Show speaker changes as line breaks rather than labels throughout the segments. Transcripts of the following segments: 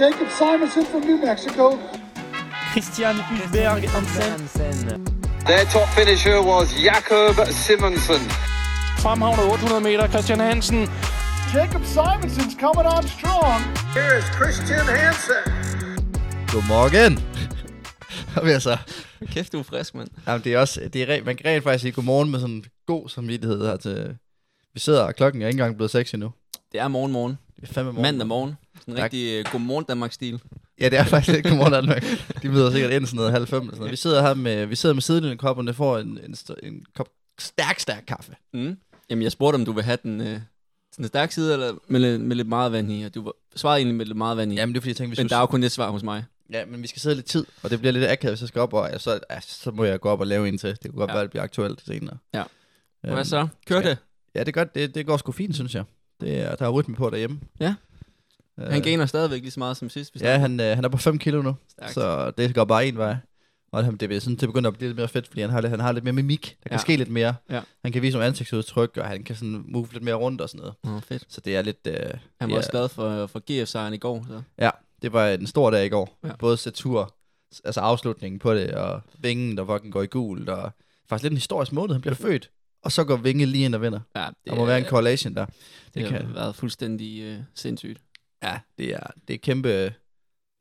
Jacob Simonson from New Mexico.
Christian Hulberg Hansen.
Their top finisher was Jakob Simonsen.
Fremhavnet 800 meter, Christian Hansen.
Jacob Simonson's coming on strong. Here is Christian Hansen.
Godmorgen! Og vi er så...
Kæft, du er frisk, mand.
Jamen, det er også... Det er, re- man kan rent faktisk sige godmorgen med sådan en god samvittighed her til... Vi sidder, og klokken er ikke engang blevet 6 endnu.
Det er morgen, morgen.
Det er fandme
morgen.
morgen.
Mandag morgen. Sådan en
Tak.
rigtig uh, godmorgen Danmark-stil.
Ja, det er faktisk lidt godmorgen, Danmark. De møder sikkert ind sådan noget halv fem eller sådan noget. Vi sidder her med, vi sidder med sidelinjekopperne og får en, en, st- en kop stærk, stærk kaffe.
Mm. Jamen, jeg spurgte, om du vil have den, uh, den stærke side, eller med, lidt- med lidt meget vand i, og du var- svarede egentlig med lidt meget vand i.
Jamen, det er fordi, jeg tænkte, vi
men
skulle...
der er jo kun det svar hos mig.
Ja, men vi skal sidde lidt tid, og det bliver lidt akavet, hvis jeg skal op, og ja, så, ja, så må jeg gå op og lave en til. Det kunne godt
Ja.
ja. være, at det bliver aktuelt senere.
Ja.
Øhm,
Hvad så? Kør
ja.
det.
Ja, det, gør, det, det går sgu fint, synes jeg. Det er, der er rytme på derhjemme.
Ja.
Øh,
Han gainer stadigvæk lige så meget som sidst. Vi
Ja,
snakkede.
han, øh, han er på 5 kilo nu,
Stærkt.
så det går bare en vej. Og han, det, er sådan, det begynder at blive lidt mere fedt, fordi han har, lidt- han har lidt mere mimik. Der kan
Ja.
ja. ske lidt mere.
Ja.
Han kan vise nogle ansigtsudtryk, og han kan sådan move lidt mere rundt og sådan noget.
Åh, fedt.
Så det er lidt... Øh,
Han var
ja,
også glad for, for GF-sejren i går. Så.
Ja, det var en stor dag i går.
Ja.
Ja. Både Satur, s- altså afslutningen på det, og vingen, der fucking går i gult, og faktisk lidt en historisk måned, han bliver født. Og så går Vinge lige ind og vinder.
Ja, det,
Der må være en correlation der.
det,
det
har
kan-
været fuldstændig uh, sindssygt.
Ja, det er, det er kæmpe... Det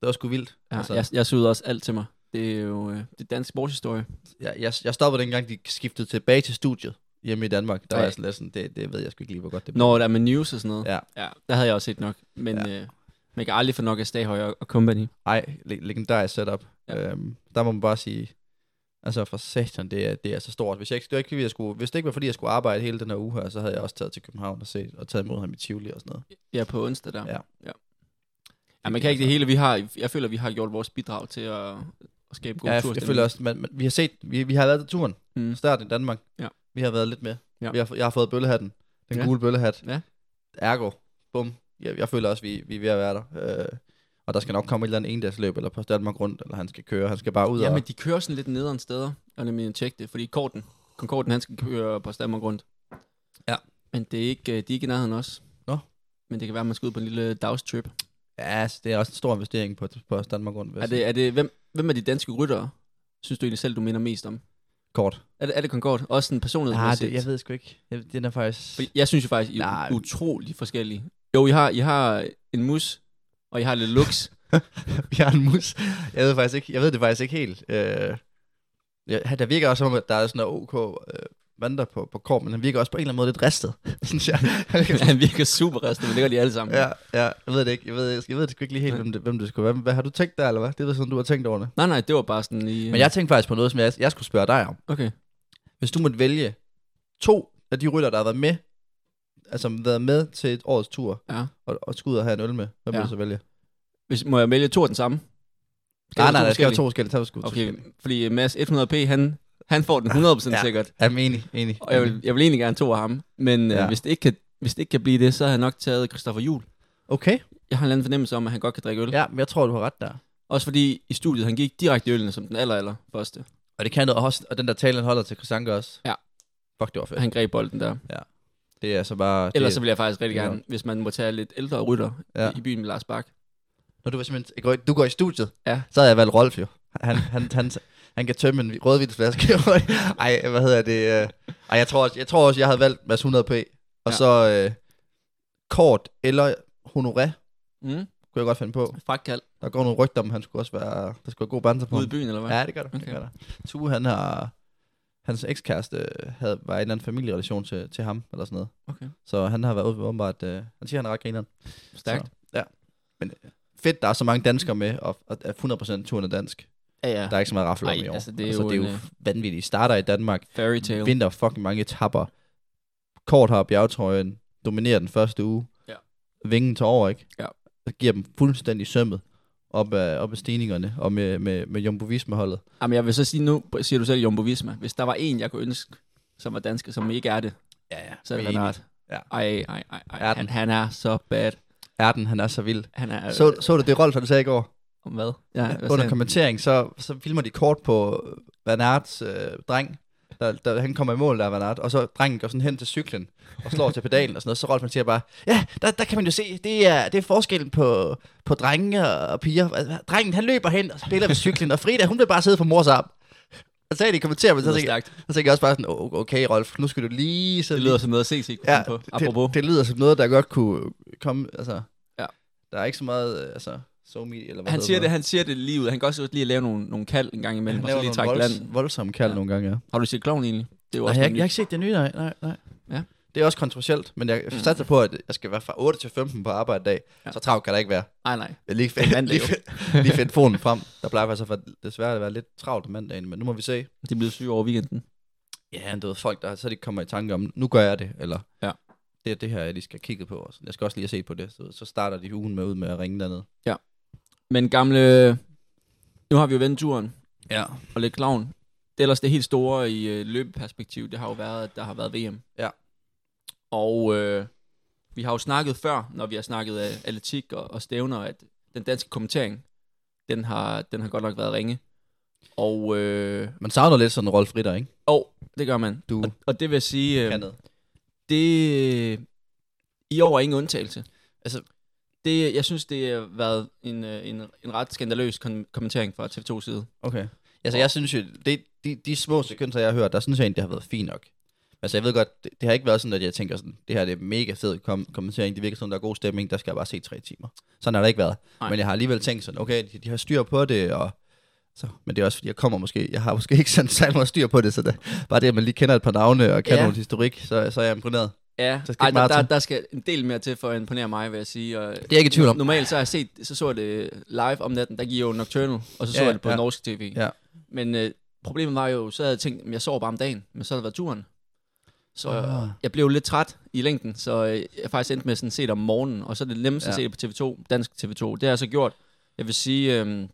var sgu vildt.
Ja, altså. jeg, jeg syede også alt til mig. Det er jo øh, det er dansk sportshistorie.
jeg, jeg, jeg stoppede dengang, de skiftede tilbage til studiet hjemme i Danmark. Der var
Ja.
jeg sådan lidt sådan, det, det ved jeg sgu ikke lige, hvor godt det
Når der er med news og sådan noget.
Ja.
Ja, der havde jeg også set nok. Men ja. øh, man kan aldrig få nok af Staghøj og, og Company.
Ej, le- legendarisk setup.
Ja.
Ja. Øhm, der må man bare sige, altså for satan, det er, det er så stort. Hvis, jeg ikke, det var ikke, fordi jeg skulle, hvis det ikke var, fordi jeg skulle arbejde hele den her uge her, så havde jeg også taget til København og set, og taget imod ham i Tivoli og sådan noget.
Ja, på onsdag der.
Ja.
ja. ja man kan ikke det hele. Vi har, jeg føler, vi har gjort vores bidrag til at, at skabe god
Ja, jeg,
turstemning.
jeg føler også, man, man, vi har set, vi, vi har været til turen,
Mm.
starten i Danmark.
Ja.
Vi har været lidt med.
Ja.
Ja. Vi har, få- jeg har fået bøllehatten, den
Ja.
ja. gule bøllehat.
Ja.
Ergo, bum. Jeg, jeg føler også, vi, vi er ved at være der. Øh, og der skal nok komme et eller andet endagsløb, eller på Danmark rundt, eller han skal køre, han skal bare ud
Ja,
og...
men de kører sådan lidt nederen steder. Og nemlig tjekke det, fordi Korten, Concorden, han skal køre på Stammer rundt.
Ja.
Men det er ikke, øh, de er ikke i nærheden også.
Nå.
Men det kan være, at man skal ud på en lille dagstrip.
Ja, altså, det er også en stor investering på, på Danmark rundt. vil jeg
Er
sige.
det, er det, hvem, hvem er de danske ryttere, synes du egentlig selv, du minder mest om?
kort?
Er det, er det Concorde? Også en personlighed?
Nej, Ah, det, jeg ved sgu ikke. Jeg, den er faktisk...
Fordi jeg synes jo faktisk, I er
Nej.
utrolig forskellige. Jo, I har, I har en mus, og I har lidt lux.
Vi har en mus. Jeg ved, faktisk ikke, jeg ved det faktisk ikke helt. Øh, ja, der virker også som om, at der er sådan noget OK øh, vandrer på, på kår, men han virker også på en eller anden måde lidt ristet, synes jeg.
Han virker super restet, men det gør de alle sammen.
ja, ja, jeg ved det ikke. Jeg ved, jeg ved det sgu ikke lige helt, hvem det, hvem det skulle være. Men Hvad har du tænkt der, eller hvad? Det er sådan, du har tænkt over det.
Nej, nej, det var bare sådan i...
Men jeg tænkte faktisk på noget, som jeg, jeg skulle spørge dig om.
Okay.
Hvis du måtte vælge to af de rytter, der har været med, altså været med til et årets tur,
Ja.
og, og skulle ud og have en øl med, hvem
Ja.
ja. vil du så vælge?
Hvis, må jeg vælge to af den samme? Skal
Nej,
jeg
nej,
have
der skal være
forskellige?
to forskellige. Der skal være to forskellige.
Okay, fordi Mads 100p, han, han får den 100% ja.
Ja.
sikkert.
Jamen, enig, enig.
Og jeg vil, jeg vil egentlig gerne to af ham. Men ja.
Ja.
øh, hvis, det ikke kan, hvis det ikke kan blive det, så har jeg nok taget Christoffer Jul.
Okay.
Jeg har en eller anden fornemmelse om, at han godt kan drikke øl.
Ja, men jeg tror, du har ret der.
Også fordi i studiet, han gik direkte i ølene som den aller, aller første.
Og det kan noget også, og den der tale, han holder til Kristanke også.
Ja.
Fuck, det var fedt.
Han greb bolden der.
Det er så bare...
Ellers så
det,
vil jeg faktisk rigtig
det er
gerne, hvis man må tage lidt ældre rytter ja.
Ja.
i byen med Lars Bak.
Når du, var simpelthen, går i- du går i studiet,
Ja.
så havde jeg valgt Rolf jo. Han, han, han, han kan tømme en rødvinsflaske. Ej, hvad hedder det? øh, Ej, jeg tror også, jeg, tror også, jeg havde valgt Mads 100p. Og
Ja.
ja. så øh, Kort eller Honoré,
Mm.
kunne jeg godt finde på.
Fragtkald
Der går nogle rygter om, han skulle også være... Der skulle være god banter på
ude i
ham.
byen, eller hvad?
Ja, det gør der.
Okay.
Okay. Det gør der. Tue, han har... Hans ekskæreste havde, var i en eller anden familierelation til, til ham, eller sådan noget.
Okay.
Så han har været ude åbenbart... Øh, han siger, han er ret grineren.
Stærkt.
Så, ja. Men øh, fedt, der er så mange danskere med, og, og at 100% turen er dansk.
Ja, ja.
Der er ikke så meget rafler om
Ej,
i år.
altså, det er
altså,
jo
det er
en,
jo
øh,
vanvittigt. Starter i Danmark,
Fairy tale.
vinder fucking mange etapper. Kort har bjergetrøjen, dominerer den første uge.
Ja.
Vingen tager over, ikke?
Ja.
Og giver dem fuldstændig sømmet op ad, op ad stigningerne, og med, med, med Jumbo Visma-holdet.
Jamen, jeg vil så sige nu, siger du selv Jumbo Visma. Hvis der var en, jeg kunne ønske, som var dansker, som ikke er det,
Ja, ja.
så er det Renard.
Ja.
Ej, ej, ej, ej.
Er
Han,
den.
han er så bad.
Erden, han er så vild.
Han er...
Så, så du det, Rolf, han sagde i går?
Om hvad? Ja, hvad
Under
sagde han?
kommentering, så, så filmer de kort på Bernards øh, dreng, der, der, han kommer i mål der, Vanart, og så drengen går sådan hen til cyklen og slår til pedalen og sådan noget, så Rolf han siger bare, ja, der, der kan man jo se, det er, det er forskellen på, på drenge og, og piger. Altså, Drengen, han løber hen og spiller ved cyklen, og Frida, hun bliver bare sidde på mors arm. Og så sagde de kommentarer, men så
lyder
tænker, jeg-
stærkt.
så tænker jeg også bare sådan, "Oh, okay Rolf, nu skal du lige... Så
Det lyder som noget at se sig
ja,
på. Apropos.
det, det, lyder som noget, der godt kunne komme, altså...
Ja.
Der er ikke så meget, øh, altså... So me, eller
Han
hvad hedder
siger det,
noget.
han siger det lige ud. Han kan også godt lide at lave nogle, nogle kald en gang imellem,
han
og så
laver
lige
nogle
trække
volds,
land.
voldsomme kald
Ja.
nogle gange, ja.
Har du set Kloven egentlig? Det er jo
Nej,
også
jeg, jeg
noget
har
nyt.
ikke set det nye, nej, nej, nej.
Ja.
Det er også kontroversielt, men jeg mm. satser på, at jeg skal være fra 8 til 15 på arbejde i dag. Ja.
Ja.
Så travlt kan der ikke være.
Nej, nej.
Jeg Lige,
er
find,
mandag
lige,
jo.
find, lige find foden frem. Der plejer faktisk at være, desværre at være lidt travlt om mandagen, men nu må vi se.
De er blevet syge over weekenden.
Ja, du ved, folk, der så de kommer i tanke om, nu gør jeg det, eller
Ja.
det er det her, jeg lige skal kigge på. Også. Jeg skal også lige have set på det. Så, så starter de ugen med ud med at ringe dernede.
Men gamle... Nu har vi jo vendt turen
Ja.
og lidt Kloven. Det er ellers det helt store i øh, løbeperspektiv, det har jo været, at der har været VM.
Ja.
Og øh, vi har jo snakket før, når vi har snakket af atletik og, og stævner, at den danske kommentering, den har, den har godt nok været ringe. Og øh,
Man savner lidt sådan Rolf Ritter, ikke?
og det gør man.
Du øhm,
Og, og det vil sige, øh,
kan noget.
det i år er ingen undtagelse.
Altså-
det, jeg synes, det har været en, øh, en, en ret skandaløs kom- kommentering fra TV2 side.
Okay. Altså, jeg synes jo, det, de, de små sekunder, jeg har hørt, der synes jeg egentlig, det har været fint nok. Altså, jeg ved godt, det, det har ikke været sådan, at jeg tænker sådan, det her det er mega fed kom- kommentering, det virker sådan, der er god stemning, der skal jeg bare se tre timer. Sådan har det ikke været. Nej.
Nej.
Men jeg har alligevel tænkt sådan, okay, de, de har styr på det, og så, men det er også fordi, jeg kommer måske, jeg har måske ikke sådan særlig meget styr på det, så det, bare det, at man lige kender et par navne og kan ja.
Ja.
noget historik, så, så er jeg imponeret.
Ja,
Der skal
Ej,
ikke meget
der, der,
til.
der skal en del mere til for at imponere mig, vil jeg sige. Og
Det er jeg ikke i tvivl om.
normalt så har jeg set, så så jeg det live om natten, der gik jo Nocturnal, og så så
Ja,
ja, jeg det på
ja.
ja. norsk tv.
Ja.
Men øh, problemet var jo, så havde jeg tænkt, at jeg sover bare om dagen, men så havde det været turen. Så
Ah.
ah. jeg blev jo lidt træt i længden, så øh, jeg faktisk endte med sådan set om morgenen, og så er det nemmest ja.
Ja.
at se det på TV2, dansk TV2. Det har jeg så gjort. Jeg vil sige, øh,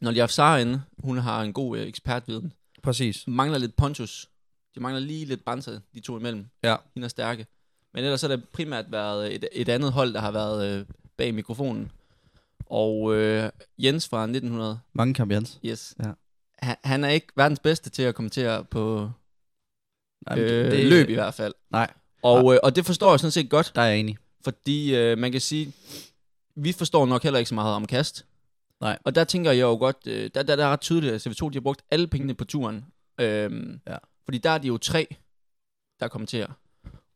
når de har Sara inde, hun har en god øh, ekspertviden,
Præcis.
mangler lidt ponchos. De mangler lige lidt banser, de to imellem.
Ja.
Hende er stærke. Men ellers har det primært været et, et andet hold, der har været øh, bag mikrofonen. Og øh, Jens fra 1900,
Mange kamp, Jens.
yes.
Ja.
Han, han er ikke verdens bedste til at kommentere på
Jamen,
øh, det, løb i hvert fald.
Nej.
Og, øh, og det forstår jeg sådan set godt,
Der er jeg enig.
fordi øh, man kan sige, vi forstår nok heller ikke så meget om kast.
Nej.
Og der tænker jeg jo godt, øh, der, der, der er ret tydeligt, at CV2 de har brugt alle pengene på turen. Øhm,
Ja.
Fordi der er de jo tre, der kommenterer.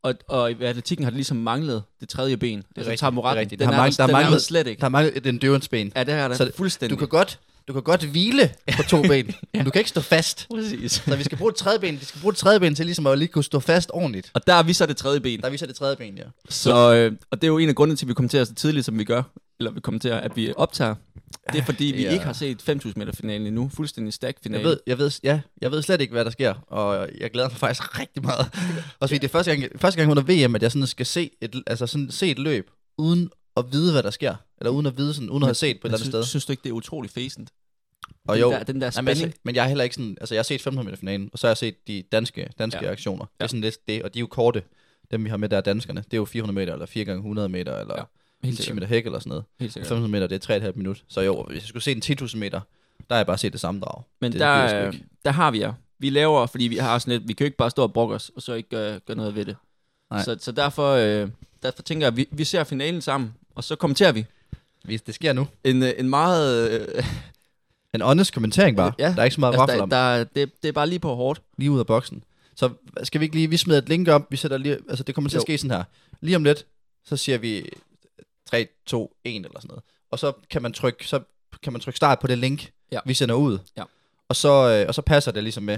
Og, og i atletikken har det ligesom manglet det tredje ben. Det er altså
rigtigt,
Tamorat,
det er rigtigt.
den
Der
er,
har manglet-
der,
der
der
har
den er der
manglet-
slet ikke.
Der mangler et endurance-ben.
ja, det her er
Så
der
det- Du
fuldstændig.
kan godt, du kan godt hvile på to ben, men du kan ikke stå fast.
Præcis.
Så vi skal bruge et tredje ben. Vi skal bruge et tredje ben til ligesom at lige kunne stå fast ordentligt.
Og der er vi så det tredje ben.
Der viser det tredje ben, ja.
Så, øh, og det er jo en af grundene til, at vi kommenterer så tidligt, som vi gør. Eller vi kommenterer, at vi optager. Det er fordi, vi
det er-
ikke har set 5.000 meter finalen endnu. Fuldstændig stack
Jeg
finale.
ved, jeg, ved, ja, jeg ved slet ikke, hvad der sker, og jeg glæder mig faktisk rigtig meget. Også fordi det er første gang, første gang under VM, at jeg sådan skal se et, altså sådan se et løb, uden at vide, hvad der sker. Eller uden at vide, sådan, uden at have set på et eller andet sted.
synes, synes du ikke, det er utrolig fæsent?
Og
den
jo,
der- den der
nej, men, altså,
spænding.
men jeg er heller ikke sådan, altså jeg har set 500 meter finalen, og så har jeg set de danske, danske ja.
Ja.
aktioner. Det er
Ja.
sådan lidt det, og de er jo korte, dem vi har med der er danskerne. Det er jo 400 meter, eller 4 gange 100 meter, eller ja.
Ja,
10 meter hæk, eller sådan noget.
Helt
500 meter, det er 3,5 minut. Så jo, hvis jeg skulle se en 10.000 meter, der har jeg bare set det samme drag.
Men
det,
det,
gider jeg sgu
der, øh,
ikke.
der har vi jer. Vi laver, fordi vi har sådan lidt, vi kan jo ikke bare stå og brokke os, og så ikke øh, gøre noget ved det.
Nej.
Så, så derfor, øh, derfor tænker jeg, at vi, vi ser finalen sammen, og så kommenterer vi.
Hvis det sker nu.
En, øh, en meget... Øh,
En honest kommentering bare. Ja. Der er ikke så meget altså,
altså,
raffel
der, der,
om.
det, det er bare lige på hårdt.
Lige ud af boksen. Så skal vi ikke lige, vi smider et link op, vi sætter lige, altså det kommer til at
Jo.
ske sådan her. Lige om lidt, så siger vi 3, 2, 1 eller sådan noget. Og så kan man trykke, så kan man trykke start på det link,
Ja.
vi sender ud.
Ja.
Og så, øh, og så passer det ligesom med,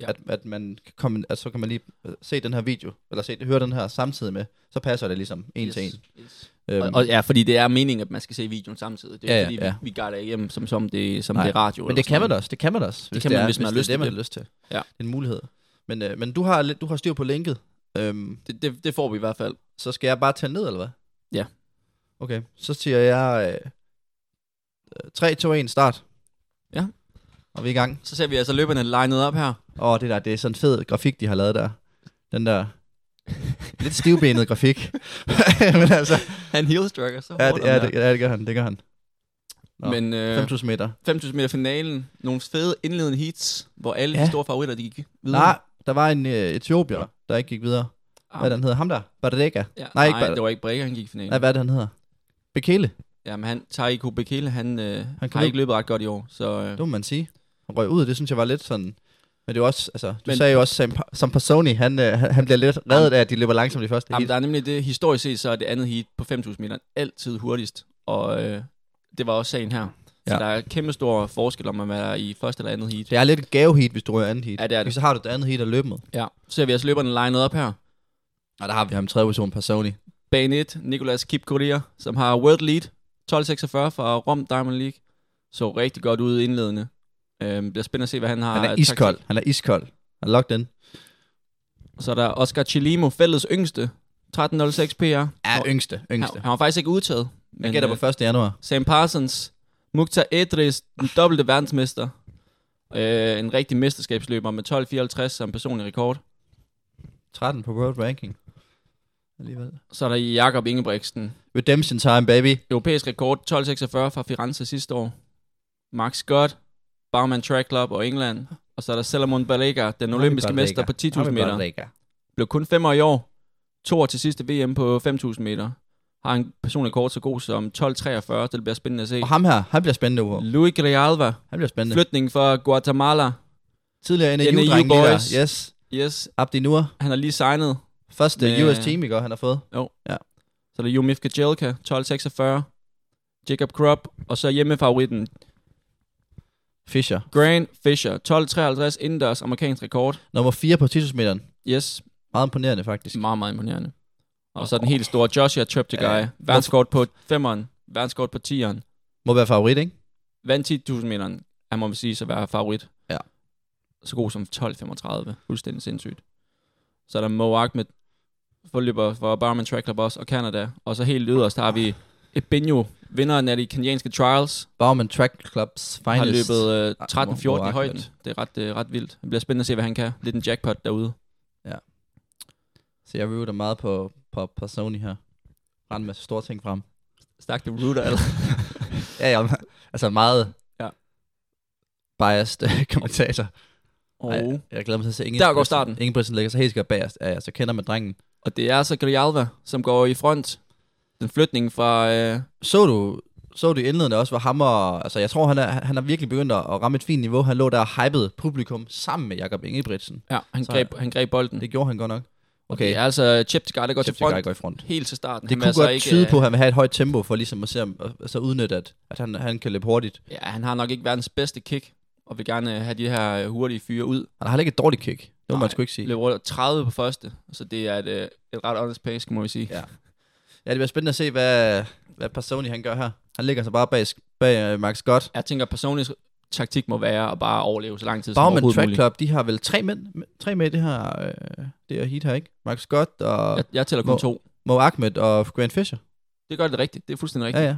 ja.
Ja.
at, at, man kan komme, at så kan man lige øh, se den her video, eller se, høre den her samtidig med, så passer det ligesom en yes. til en.
Yes.
Øhm,
Og, og, ja, fordi det er meningen, at man skal se videoen samtidig. Det er
Ja,
ja,
ja,
fordi,
ja.
ja. vi, vi gør det igennem, som, som, det, som
Nej,
det er radio.
Men
eller
det
sådan
kan man da
noget.
også, det kan man da også.
kan man, hvis man har
det er
lyst
det,
til
man
det.
har lyst til.
Ja.
Det er en mulighed. Men, øh, men du, har, lidt- du har styr på linket. Øhm,
Det, det, det får vi i hvert fald.
så skal jeg bare tage ned, eller hvad?
Ja.
Okay, så siger jeg øh, 3, 2, 1, start.
Ja.
Og vi er i gang.
Så ser vi altså løberne lined op her.
Åh, oh, det der, det er sådan en fed grafik, de har lavet der. Den der lidt stivbenet grafik. men altså,
Han heel striker så
ja,
hårdt.
det, ja,
om
det,
der.
ja, det gør han, det gør han. Nå,
Men øh,
5.000 meter.
5.000 meter finalen, nogle fede indledende heats, hvor alle
Ja.
de store favoritter, de gik videre. Ah.
Nej, Der var en øh, etiopier, der ikke gik videre. Hvad er det, han hedder? Ham der? Badrega?
Ja,
Nej,
nej,
ikke
nej
bare-
det var ikke Brekker, han gik i finalen.
Nej, hvad er det, han hedder? Bekele,
Ja, men han, Taiko Bekele, han, øh, han
kan
har
løbe.
ikke løbet ret godt i år. Så, øh,
det må man sige. Han røg ud, det synes jeg var lidt sådan... Men det var også, altså, du men,
Men-
sagde jo også, Sam, som Personi, han, øh, han han bliver lidt reddet af, at de løber langsomt i første
jamen,
heat.
der er nemlig det, historisk set, så er det andet heat på 5.000 meter altid hurtigst. Og øh, det var også sagen her. Så
Ja.
der er kæmpe stor forskel om, at man er i første eller andet heat.
Det er lidt en gaveheat, hvis du rører andet heat.
Ja, det er det.
Så har du det andet heat at løbe med.
Ja. Så ser vi altså løberne lined op her.
Og der har vi ham i tredje person, Personi.
Ah, Bane 1, Nicolas Kipkolia, som har world lead 12.46 fra Rom Diamond League. Så rigtig godt ud indledende. Øhm, det er spændende at se, hvad han har.
Han er
af taktik.
iskold. Han er iskold. Han er locked in.
Så er der Oscar Chilimo, fælles yngste. 13.06 PR. Ja,
Ja, yngste. Yngste.
han, han var faktisk ikke udtaget.
Jeg
Men,
gætter
øh,
på 1. januar.
Sam Parsons, Mukhtar Edris, den dobbelte verdensmester. Øh, en rigtig mesterskabsløber med 12.54 som personlig rekord.
13 på World Ranking. Alligevel.
Så er der Jakob Ingebrigtsen,
Redemption time, baby.
europæisk rekord 12.46 fra Firenze sidste år. Mark Scott, Barman Track Club og England. Og så er der Salomon Balega, den olympiske mester på 10.000 meter. Blev kun femmer i år. To år til sidste VM på 5.000 meter. Har en personlig rekord så god som 12.43. Det bliver spændende at se.
Og ham her, han bliver spændende, Uwe.
Louis Grijalva,
Han bliver spændende. Flyt.
flytning fra Guatemala.
Tidligere NAU,
NAU
dreng
boys.
Yes.
Yes,
Abdi Nur.
han har lige signet.
Første
Med-
US team, i går, han har fået.
Så er der Jumif Kajelka, 12.46. Jacob Krupp, og så hjemmefavoritten
Fischer.
Grant Fisher, 12.53 indendørs amerikansk rekord.
Nummer 4 på 10.000 meteren.
Yes,
Meget imponerende, faktisk.
meget, meget imponerende. Og så den helt store Joshua Treptegei, ja. verdenskort på 5'eren, verdenskort på 10'eren.
Må være favorit, ikke?
Vandt 10.000 meteren, han må man sige, så være favorit.
Ja.
Så god som 12.35, fuldstændig sindssygt. Så er der Mo Ahmed, forløber for Barman Track Club også, og Canada. Og så helt yderst har vi Ebinho, vinderen af de kenyanske trials,
Bauman Track Clubs
har
finest.
løbet øh,
Ej,
13-14 i
Morak,
højden.
men-
Det er ret, øh, ret vildt. Det bliver spændende at se, hvad han kan. Lidt en jackpot derude.
Så jeg rooter meget på, på, på Sony her. Rende en masse store ting frem.
Stak det router, eller?
Ja, ja. Altså meget
Ja.
biased øh, kommentator.
og,
Ej, jeg glæder mig til at se Ingebrigtsen.
Der går starten.
Ingebrigtsen lægger sig helt sikkert bagerst. Ja, ja, så kender man drengen.
og det er så Grijalva, som går i front. Den flytning fra... Øh,
Så du, så du i indledende også, hvor ham og, altså jeg tror, han er, han er virkelig begyndt at at ramme et fint niveau. Han lå der og hypede publikum sammen med Jakob Ingebrigtsen.
ja, han,
Så-
greb, han greb bolden.
Det gjorde han godt nok.
Mm. Okay. Det
Okay,
er altså Chip Tegei, der går til
Cheptegei
front.
går i front.
Helt til starten.
Det
Han
kunne
vil altså
godt
ikke,
tyde
øh,
på, at han vil have et højt tempo, for ligesom at se, om, at så udnytte, at, at han, han kan løbe hurtigt.
Ja, han har nok ikke verdens bedste kick, og vil gerne øh, have de her øh, hurtige fyre ud.
Han har heller ikke et dårligt kick. Det må
Nej.
man sgu ikke sige.
Løber rundt 30 på første, så det er et, øh, et ret honest pace, må vi sige.
Ja. Ja, det bliver spændende at se, hvad, hvad Personi han gør her. Han ligger sig bare bag, bag uh, Max Scott.
Jeg tænker, personlig taktik må være at bare overleve så lang tid som
Bagman
overhovedet
Track
muligt.
Club, de har vel tre, mænd, tre med i det her, øh, det her heat her, ikke? Max Scott og
Jeg, jeg tæller kun
Må-
to.
Mo Ahmed og Grant Fisher.
Det gør det rigtigt. Det er fuldstændig rigtigt.
Ja, ja.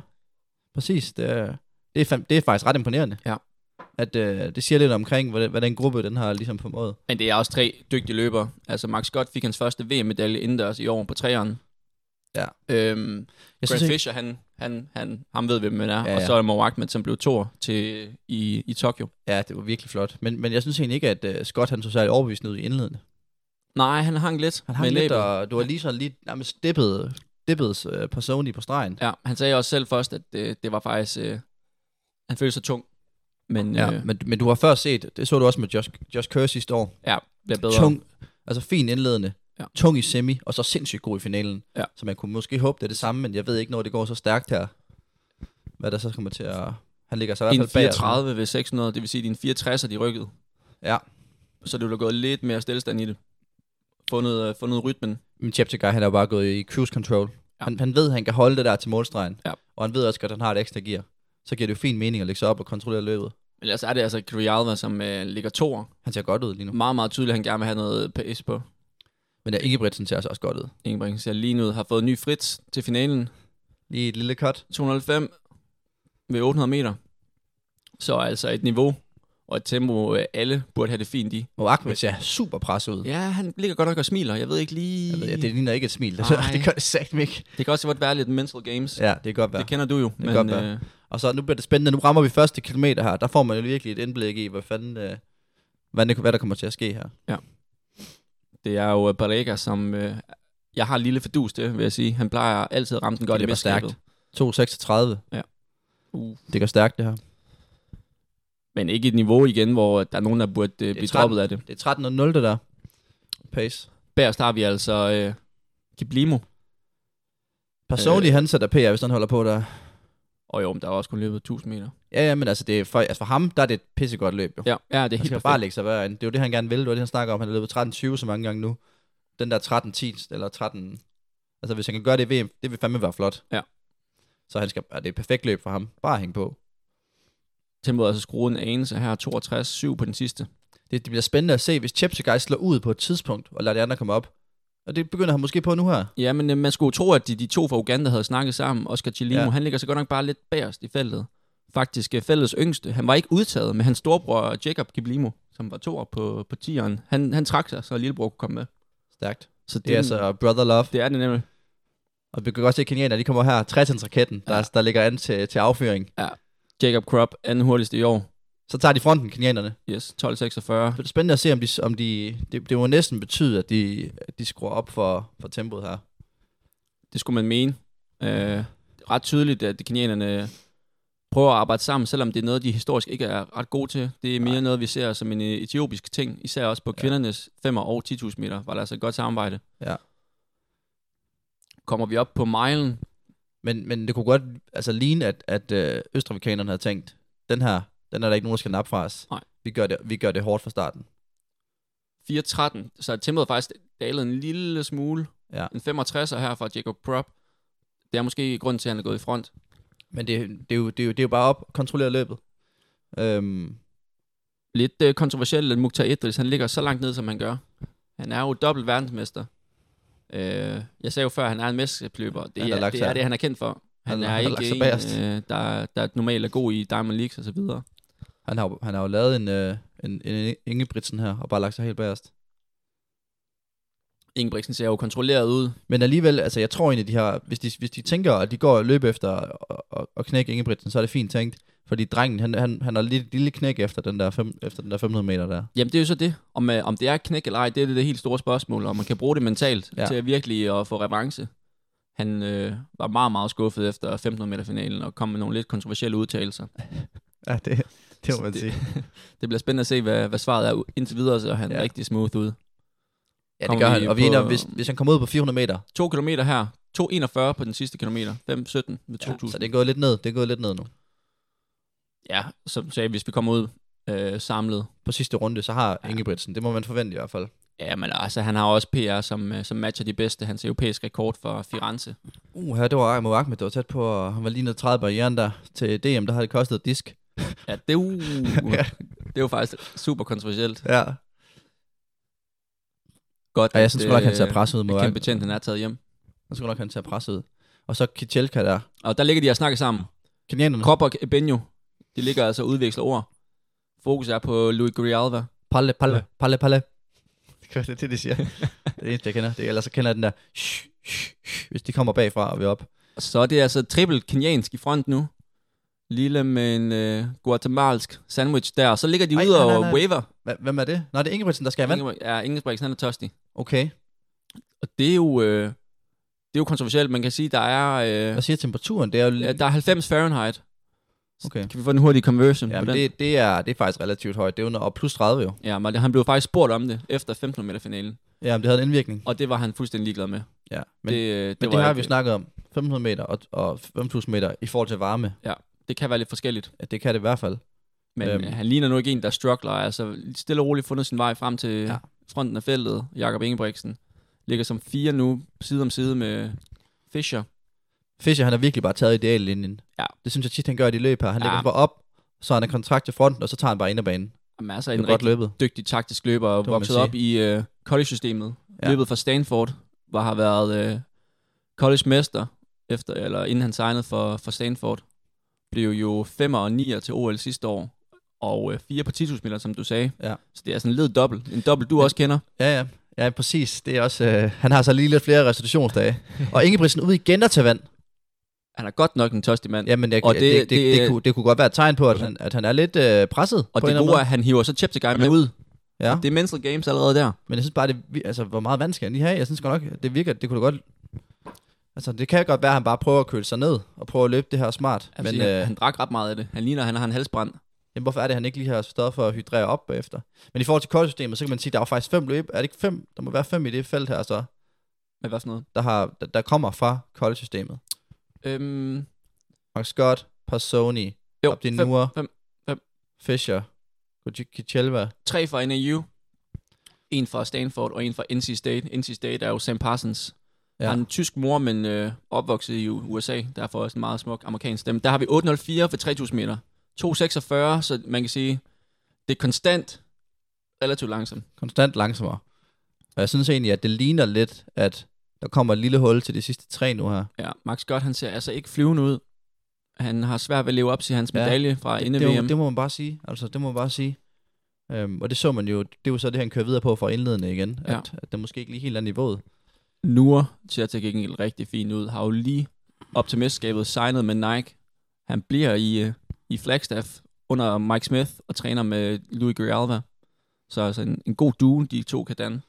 Præcis. Det er, det er, fandme- det er faktisk ret imponerende.
Ja.
At øh, det siger lidt omkring, hvordan, hvordan gruppe den har ligesom formået.
Men det er også tre dygtige løbere. Altså, Max Scott fik hans første VM-medalje indendørs i år på træeren.
Ja.
Øhm,
Jeg
Grant
synes, ikke,
Fisher, han, han, han, ham ved, hvem man er.
Ja,
Ja,
ja.
Og så er det Mo Ahmed, som blev toer til, i, i Tokyo.
ja, det var virkelig flot. Men, men jeg synes egentlig ikke, at øh, Scott han så særlig overbevisende ud i indledende.
Nej, han hang lidt
Han har
med
lidt,
næbet.
og du har lige sådan lige nærmest dippet, dippet øh, Personi på stregen.
Ja, han sagde også selv først, at det, det var faktisk... Øh, han følte sig tung. Men ja,
Ja,
øh,
men, men du har før set, det så du også med Josh, Josh Kerr sidste år.
ja bliver bedre.
Tung, altså fin indledende, ja.
Ja.
tung i semi, og så sindssygt god i finalen.
Ja.
Så man kunne måske håbe, det er det samme, men jeg ved ikke, når det går så stærkt her, hvad der så kommer til at... Han ligger så i
I
hvert
en
fald bag. os nu.
34 ved 600, det vil sige, at din 64 er de rykket.
Ja.
Så det ville have gået lidt mere stillestand i det. Fundet, øh, fundet rytmen.
Men Cheptegei, han er jo bare gået i cruise control. Ja.
Ja.
Han, han ved, at han kan holde det der til målstregen,
Ja.
og han ved også, godt, at han har et ekstra gear. Så giver det jo fin mening at lægge sig op og kontrollere løbet.
Men ellers er det altså Grijalva, som øh, ligger toer.
Han ser godt ud lige nu.
Meget, meget tydeligt, at han gerne vil have noget PS på.
Men ja, Ingebrigtsen ser altså også godt ud.
Ingebrigtsen ser lige nu ud. Har fået ny Fritz til finalen.
Lige et lille cut.
205 ved 800 meter. Så altså et niveau og et tempo, øh, alle burde have det fint i.
Og Ahmed ser super presset ud.
Ja, han ligger godt nok og smiler. Jeg ved ikke lige...
Jeg ved, ja, det ligner ikke et smil.
Nej.
det gør det sagt ikke.
Det kan også godt være lidt mental games.
Ja, det kan godt være.
Det kender du jo. øh, Det
kan godt være. Og så nu bliver det spændende. Nu rammer vi første kilometer her. Der får man jo virkelig et indblik i, hvad fanden, øh, hvad, det, hvad der kommer til at ske her.
Ja. Det er jo øh, Barrega, som øh, jeg har en lille fordus til, vil jeg sige. Han plejer altid at ramme den godt i
løber
mesterskabet.
stærkt. 236.
Ja. Uh.
Det går stærkt, det her.
Men ikke et niveau igen, hvor der er nogen, der burde øh, blive
tretten.
droppet af det.
Det er 13.00, det der. Pace.
Bagerst har vi altså øh, Kiblimo.
Personligt, øh. han sætter PR, hvis han holder på der.
Og jo, men der er også kun løbet 1000 meter.
Ja, ja, men altså, det er for, altså for ham, der er det et pissegodt løb, jo.
Ja, ja det er
han
helt
skal
perfekt.
bare lægge sig hver Det er jo det, han gerne vil. Det var det, han snakker om. Han har løbet 13.20 så mange gange nu. Den der 13.10, eller 13... Altså, hvis han kan gøre det i VM, det vil fandme være flot.
Ja.
Så han skal, er det er et perfekt løb for ham. Bare hænge på.
Tempoet er altså skruet en anelse her. 62-7 på den sidste.
Det, det bliver spændende at se, hvis Cheptegei slår ud på et tidspunkt, og lader de andre komme op. Og det begynder han måske på nu her.
Ja, men øh, man skulle jo tro, at de, de to fra Uganda havde snakket sammen. Oscar Chilimo, ja.
Ja.
han ligger så godt nok bare lidt bagerst i feltet. Faktisk øh, fællets yngste. Han var ikke udtaget, men hans storebror Jacob Kiblimo, som var to på, på tieren, han, han trak sig, så lillebror kunne komme med.
Stærkt.
Så det,
Det er altså Brother Love.
det er det nemlig.
Og vi kan godt se, at kenianerne, de kommer her. 60-raketten, der,
Ja.
ja. der ligger an til, til affyring.
Jacob Krupp, anden hurtigste i år.
Så tager de fronten, kenianerne.
Yes, 12.46.
Så det er spændende at se, om de... Om de det, det må næsten betyde, at de, at de skruer op for, for tempoet her.
Det skulle man mene. Øh, det er ret tydeligt, at kenianerne prøver at arbejde sammen, selvom det er noget, de historisk ikke er ret gode til. Det er mere Nej. noget, vi ser som en øh, etiopisk ting, især også på
Ja.
kvindernes 5 og 10.000 meter, var der altså et godt samarbejde.
Ja.
Kommer vi op på milen?
Men, men det kunne godt altså, ligne, at, at øh, østafrikanerne havde tænkt, den her, den er der ikke nogen, der skal nappe fra os.
Nej.
Vi gør det, vi gør det hårdt fra starten.
4.13, så er tempoet faktisk dalet en lille smule.
Ja.
En 65'er her fra Jacob Prop. Det er måske grunden til, at han er gået i front.
Men det, det, er, jo, det, er, jo, det er jo bare op, kontrollere løbet. Øhm,
Lidt øh, kontroversielt, at Mukhtar Idris, han ligger så langt ned, som han gør. Han er jo dobbelt verdensmester. Øh, jeg sagde jo før, at han er en mesterløber. Det,
Han har
er,
lagt
det
sig-
er det, han er kendt for. Han,
han
han er
har lagt sig
ikke en,
bagerst.
øh, der, der normalt er god i Diamond Leagues og så videre.
han, har, jo- han har jo lavet en, øh, en, en Ingebrigtsen her, og bare lagt sig helt bagerst.
Ingebrigtsen ser jo kontrolleret ud.
Men alligevel, altså jeg tror egentlig, de har, hvis de, hvis de tænker, at de går og løber efter og, og, og knække Ingebrigtsen, så er det fint tænkt. Fordi drengen, han, han, han har lige et lille knæk efter den, der fem, efter den der 500 meter der.
Jamen, det er jo så det. Om, øh, om det er et knæk eller ej, det er det, det helt store spørgsmål. Om man kan bruge det mentalt ja.
Ja.
til at virkelig at få revanche. Han øh, var meget, meget skuffet efter 1500 meter finalen og kom med nogle lidt kontroversielle udtalelser.
Ja, det, det
må man sige. Det bliver spændende at se, hvad, hvad svaret er. Indtil videre ser han
Ja.
ja. rigtig smooth ud.
Ja, det
Kommer
gør
vi
han. Og vi
på-
ender, hvis, hvis han kommer ud på 400 meter,
2 km her. 2.41 på den sidste kilometer. 5.17 ved 2.000.
så det er gået lidt ned. Det er gået lidt ned nu.
Ja, som du sagde, hvis vi kommer ud øh, samlet.
På sidste runde, så har Ingebrigtsen. Det må man forvente i hvert fald.
Ja, men altså, han har også PR, som, øh, som matcher de bedste. Hans europæiske rekord for Firenze.
Uh, her, det var Ahmed Ahmed, der var tæt på, og han var lige nede 30 barrieren der til DM, der havde det kostet et disk.
Ja, det er jo, det er jo faktisk super kontroversielt.
Ja.
Godt,
ja jeg synes
at,
godt nok, han
øh,
ser presset ud
at
mod
Kim
Ahmed.
Betjent, han er taget hjem.
Jeg synes godt nok, han ser presset ud. Og så Kitjelka der.
Og der ligger de og snakker sammen.
Kenianerne.
Krop og Benjo, de ligger altså og udveksler ord. Fokus er på Louis Grijalva.
Palle, palle,
Ja.
ja. palle, palle. Det er det, det, de siger. det er det eneste, jeg kender. Det, er- ellers så kender jeg den der, shh, shh, shh, hvis de kommer bagfra og vi er op.
Og Så er det altså trippelt kenyansk i front nu. Lille med en øh, guatemalsk sandwich der. Og så ligger de
Ej,
ude
nej, nej,
og
nej.
waver.
Hva- Hvem er det? Nå, det er Ingebrigtsen, der skal have vand.
Ingeborg, ja, Ingeborg, han er tørstig.
Okay.
Og det er jo, øh, det er jo kontroversielt. Man kan sige, der er, øh,
Hvad siger temperaturen? Det er jo...
ja, der er 90 Fahrenheit.
Okay.
Kan vi få en hurtig conversion
Ja,
på
men
den? Det...
det, det, er, det er faktisk relativt højt. Det er under, og plus 30 jo.
Ja, men han blev faktisk spurgt om det efter 15 meter finalen.
Ja, men det havde en indvirkning.
Og det var han fuldstændig ligeglad med.
Ja,
Men,
men
det, øh, det,
Men
var
det har
ikke-
vi snakket om. 500 meter og, og 5.000 meter i forhold til varme.
det kan være lidt forskelligt.
Ja, Det kan det i hvert fald.
Men
Øhm.
øhm. han ligner nu ikke en, der struggler. Altså stille og roligt fundet sin vej frem til ja.
Ja.
fronten af feltet. Jakob Ingebrigtsen ligger som fire nu, side om side med Fischer.
Fischer, han har virkelig bare taget ideallinjen.
Ja.
Det synes jeg tit, han gør i de løb her. Han
Ja.
ja. lægger sig bare op, så han er kontrakt til fronten, og så tager han bare ind ad banen.
Jamen, altså
Det er
en
godt
rigtig
løbet.
dygtig taktisk løber, og
Det må man
vokset
sige.
op i øh, college-systemet. Ja.
Ja.
Løbet fra Stanford, hvor har været øh, college-mester, efter, eller inden han signede for, for Stanford. Blev jo 5 og 9 til OL sidste år, og øh, 4 på 10.000 meter, som du sagde.
Ja.
Så det er sådan en led dobbelt. En dobbelt, du
Men-
også kender.
Ja, ja. Ja, præcis. Det er også, øh, han har så lige lidt flere restitutionsdage. og Ingebrigtsen ud igen og tage vand.
Han er godt nok en tørstig mand.
Jamen, jeg,
Og
og
det-
det, det, det,
det-
det, kunne, det kunne godt være et tegn på, at han, at han er lidt øh, presset.
Og
på en
det
eller anden
gode er,
måde.
at han hiver så Cheptegei med ud.
Ja.
Det er mental games allerede der.
Men jeg synes bare, det, vi- altså, hvor meget vand skal han lige have? Jeg synes godt nok, det virker, det kunne da godt... Altså, det kan godt være, at han bare prøver at køle sig ned og prøver at løbe det her smart.
Men,
men,
siger,
øh,
han drak ret meget af det. Han ligner, han har en halsbrand.
jamen, hvorfor er det, at han ikke lige har stået for at hydrere op efter? Men i forhold til koldsystemet, så kan man sige, at der er jo faktisk fem løb. Er det ikke fem? Der må være fem i det felt her, så,
Hvad var sådan noget?
der, har, der, der kommer fra koldsystemet.
Øhm,
Mark Scott, Personi,
jo, fem,
Abdinur,
fem, fem.
Fischer, Kichelva.
tre fra NAU. En fra Stanford og en fra NC State. NC State er jo Sam Parsons. Ja.
Ja.
Har en tysk mor, men øh, opvokset i U- USA. Derfor også en meget smuk amerikansk stemme. Der har vi 804 for 3000 meter. 246, så man kan sige, det er konstant relativt langsomt.
konstant langsommere. Og jeg synes egentlig, at det ligner lidt, at der kommer et lille hul til de sidste tre nu her.
Ja, Max Scott, han ser altså ikke flyvende ud. Han har svært ved at leve op til hans
Ja,
medalje fra inden
Det,
VM.
må, det må man bare sige. Altså, det må man bare sige. Øhm, og det så man jo, det er jo så det, han kører videre på fra indledende igen,
Ja.
at, at det måske ikke lige helt er niveauet.
Nur ser til gengæld rigtig fint ud. Har jo lige op til mesterskabet signet med Nike. Han bliver i, øh, i Flagstaff under Mike Smith og træner med Louis Grijalva. Så altså en, en god due, de to kan danne.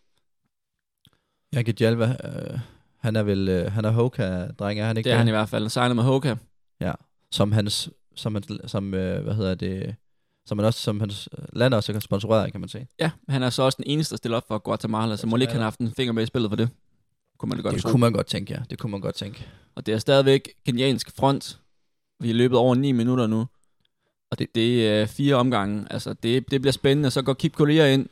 Jeg kan Jalva, øh, han er vel, øh, han er Hoka-dreng, er han ikke
Det er han i hvert fald. Han signer med Hoka.
Som hans, som, hans, som øh, hvad hedder det, som han også, som hans land også er sponsoreret, af, kan man sige.
Ja, han er så også den eneste, der stiller op for Guatemala, så må ikke han har haft en finger med i spillet for det. Kunne man da godt
Det
tro.
kunne man godt tænke, ja. Det kunne man godt tænke.
Og det er stadigvæk kenyansk front. Vi er løbet over 9 minutter nu. Og det, det er øh, fire omgange. Altså, det, det bliver spændende. Så går Kip Collier ind.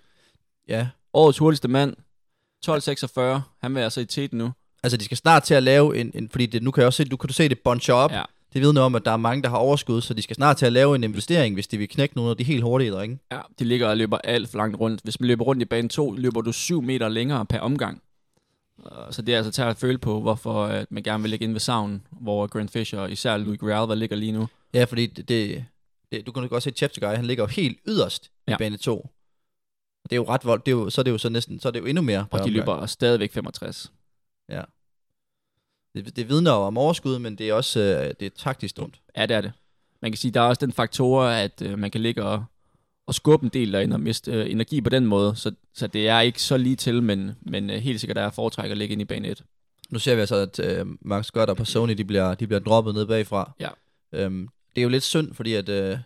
Ja.
Årets hurtigste mand. 12.46. Han vil altså i teten nu.
Altså, de skal snart til at lave en, en fordi det, nu kan jeg også se, du kan du se, det buncher op.
Ja.
Det vidner om, at der er mange, der har overskud, så de skal snart til at lave en investering, hvis de vil knække nogle af de helt hurtige drenge.
Ja, de ligger og løber alt for langt rundt. Hvis man løber rundt i bane 2, løber du 7 meter længere per omgang. Og Så det er altså til at føle på, hvorfor at man gerne vil ligge inde ved savnen, hvor Grant Fisher og især Louis Grijalva ligger lige nu.
Ja, fordi det, det, det du kan jo godt se, at Cheptegei, han ligger jo helt yderst ja.
Ja.
i bane 2. Og det er jo ret vold, det er jo, så er det jo så næsten, så er det jo endnu mere.
Og
per
de
omgang.
løber stadigvæk 65.
Det, det vidner jo om overskud, men det er også øh, det er taktisk dumt.
Ja, det er det. Man kan sige, der er også den faktor, at øh, man kan ligge og, og skubbe en del derinde og miste øh, energi på den måde. Så, så det er ikke så lige til, men, men øh, helt sikkert er jeg foretrækker at ligge ind i bane 1.
Nu ser vi altså, at øh, Max Scott og Personi, de bliver, de bliver droppet ned bagfra.
Ja.
Øhm, det er jo lidt synd, fordi at øh,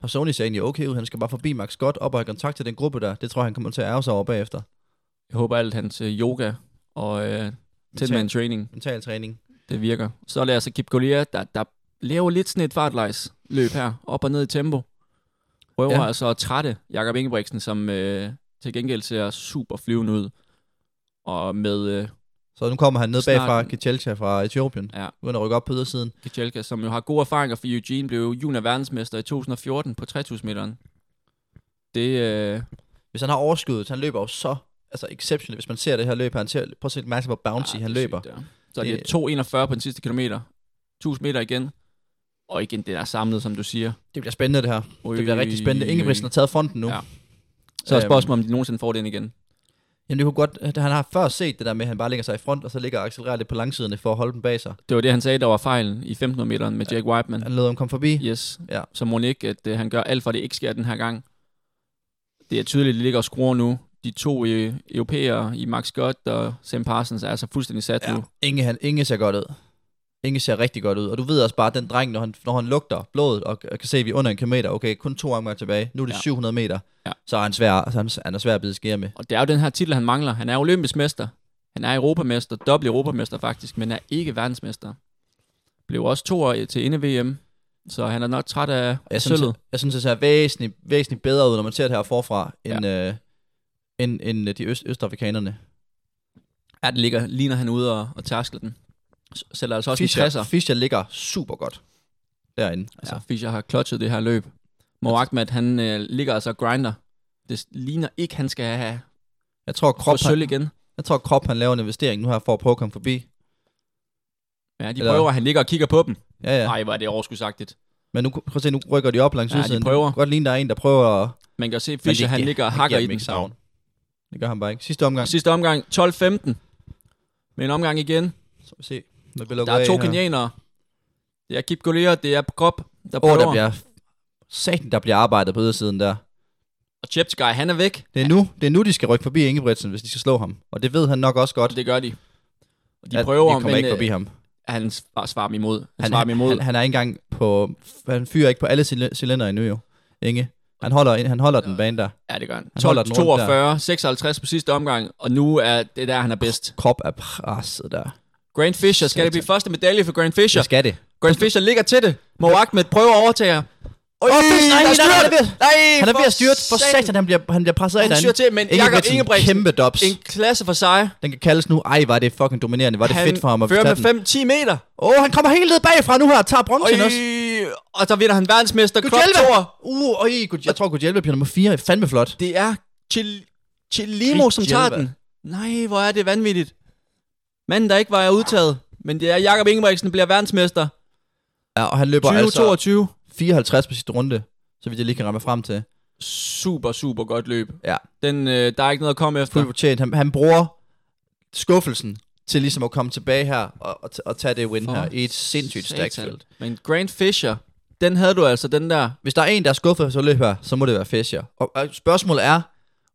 Personi ser egentlig okay ud. Han skal bare forbi Max Scott op og have kontakt til den gruppe der. Det tror jeg, han kommer til at ærge sig over bagefter.
Jeg håber alt hans øh, yoga og øh, man training,
Mental træning.
det virker. Så er det altså Kip Collier, der, der laver lidt sådan et fartlejs løb her, op og ned i tempo. Røver
Ja.
ja. altså at trætte Jakob Ingebrigtsen, som øh, til gengæld ser super flyvende ud. Og med øh,
Så nu kommer han ned
Snart-
bagfra Kichelcha fra Etiopien.
Ja.
Uden at rykke op på ydersiden.
Kajelka, som jo har gode erfaringer for Eugene, blev junior verdensmester i 2014 på 3000 meteren. Det, øh,
Hvis han har overskuddet, han løber jo så altså exceptionelt. Hvis man ser det her løb, her, han ser, prøv at se mærke på bouncy,
ah,
ja, han
det er
løber.
sygt, ja. Så det,
Det-
er 2.41 på den sidste kilometer. 1000 meter igen. Og igen, det der samlet, som du siger.
Det bliver spændende det her.
Ui,
Det bliver rigtig spændende. Ingebrigtsen har taget fonden nu.
Ja. Så er
Øhm,
spørgsmålet, om de nogensinde får den igen.
Jamen det kunne godt, at han har før set det der med, at han bare ligger sig i front, og så ligger og accelererer lidt på langsiderne for at holde den bag sig.
Det var det, han sagde, der var fejlen i 1500 meteren med Jack Whiteman.
Mm. Han lod ham komme forbi.
Yes.
Ja.
Så må ikke, at øh, han gør alt for, at det ikke sker den her gang. Det er tydeligt, at de ligger og skruer nu. De to øh, europæere i Max Scott og Sam Parsons er altså fuldstændig sat nu.
Inge, han, Inge ser godt ud. Inge ser rigtig godt ud. Og du ved også bare, at den dreng, når han, når han lugter blodet, og og kan se, at vi er under en kilometer, okay, kun to omgange tilbage, nu er det
Ja.
ja. 700 meter,
Ja.
så er han svær, så er han, han er svær at bide skære med.
Og det er jo den her titel, han mangler. Han er olympisk mester. Han er europamester, dobbelt europamester faktisk, men er ikke verdensmester. Blev også to år til inde VM, så han er nok træt af
Og jeg synes,
sølvet.
jeg synes, det ser væsentligt, væsentligt bedre ud, når man ser det her forfra, end, ja. øh, end, end øh, de øst, østafrikanerne.
Ja, det ligger, ligner han ude og, og tærskler den. S- Selv altså også Fischer. en 60'er.
Fischer ligger super godt derinde. Altså,
Altså, Fischer har klotset det her løb. Mo Ahmed, han øh, ligger altså og grinder. Det s- ligner ikke, han skal have
jeg tror,
få
krop,
sølv
han,
igen.
jeg tror, krop, han laver en investering nu her for at prøve at komme forbi.
Ja, de
Eller-
prøver, han ligger og kigger på dem.
Ja, ja.
Nej, hvor er det overskudsagtigt.
Men nu, prøv at se, nu rykker de op langs
Ja, de
udsiden.
prøver.
Det kan godt ligne, der er en, der prøver at
Man kan jo se, at
Men
Fischer,
det-
han
det-
ligger og
han
hakker
giver
i
dem
den.
ikke savn. Det gør han bare ikke. Sidste omgang.
Sidste omgang, 12-15. Med en omgang igen.
Så vi se. Der, bliver
Der er to kenianere. Det er Kip Golier, det er Krop, der
Åh,
prøver.
der bliver... Satan, der bliver arbejdet på ydersiden der.
Og Cheptegei, han er væk.
Det er, nu, det er nu, de skal rykke forbi Ingebrigtsen, hvis de skal slå ham. Og det ved han nok også godt,
Det gør de. Og de
at
prøver,
de kommer
men
ikke
øh,
forbi ham.
han svar- svarer dem imod. Han, han
Han,
svarer dem imod.
han, han er ikke engang på... Han fyrer ikke på alle cil- cylindre endnu, jo. Inge. Han holder, han holder den bane der.
ja, det gør han.
han
12,
holder den rundt
42, 56 på sidste omgang, og nu er det der, han er bedst.
Krop er presset der.
Grand Fisher, skal det blive første medalje for Grand Fisher?
Det skal det.
Grand Fisher ligger til det. Mo Ahmed prøver at overtage ham. Øj,
nej, nej, nej, han Øh, er ved-
nej,
Han er ved at
for
styrt. For
satan.
satan, han bliver, han bliver presset af
Han
derinde.
styrer til, men Jakob
Ingebrigtsen,
Ingebrigtsen-
Kæmpe dobs.
En klasse for sig.
Den kan kaldes nu. Ej, var det fucking dominerende. Var det
han
fedt for ham at
fører
tage
med
den.
5-10 meter.
Åh, oh, han kommer helt ned bagfra nu her og tager bronzen også.
Øj, og så vinder han verdensmester Krop
Gudhjelme!
2.
Uh, øj, Gud, jeg tror, Gudhjelme bliver nummer 4. Fandme flot.
Det er Chil Chilimo, som tager
Gudhjelme.
den. Nej, hvor er det vanvittigt. Manden, der ikke var udtaget. Men det er Jakob Ingebrigtsen, der bliver verdensmester.
Ja, og han løber
20-22.
altså 54 på sidste runde, så vidt jeg lige kan ramme frem til.
Super, super godt løb.
Ja.
Den, øh, der er ikke noget at komme efter.
Fuldt fortjent. Han, han bruger skuffelsen til ligesom at komme tilbage her og, og, t- og tage det win
For
her i et sindssygt stærkt
Satan.
felt.
Men Grand Fisher, den havde du altså, den der.
Hvis der er en, der er skuffet så løb her, så må det være Fischer. Og, og spørgsmålet er,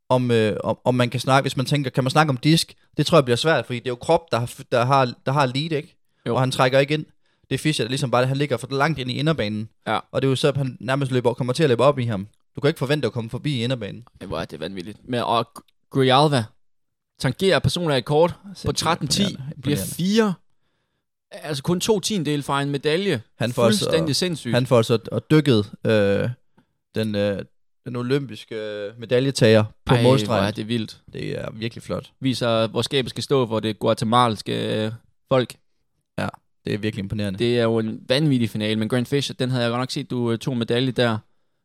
om, øh, om, om man kan snakke, hvis man tænker, kan man snakke om disk? Det tror jeg bliver svært, fordi det er jo krop, der har, der har, der har lead, ikke?
Jo.
Jo. Og han trækker ikke ind. Det er Fischer, der ligesom bare, han ligger for langt ind i inderbanen.
Ja.
Og det er jo så, at han nærmest løber, kommer til at løbe op i ham. Du kan ikke forvente at komme forbi inderbanen.
Ej, Hvor er det vanvittigt. Men, og Grijalva tangerer personlig rekord på 13-10.
imponerende.
Bliver fire. Altså kun to tiendele fra en medalje.
Han får altså-
Fuldstændig sindssygt.
Han får altså og dykket øh, den, øh, den olympiske øh, medaljetager på
Ej, hvor er
målstregen. Det...
det vildt.
det er virkelig flot.
Viser, hvor skabet skal stå for det guatemalske øh, folk.
Mm. Det er virkelig imponerende. Det...
Det er jo en vanvittig finale, men Grand Fisher, den havde jeg godt nok set, du øh, tog medalje der.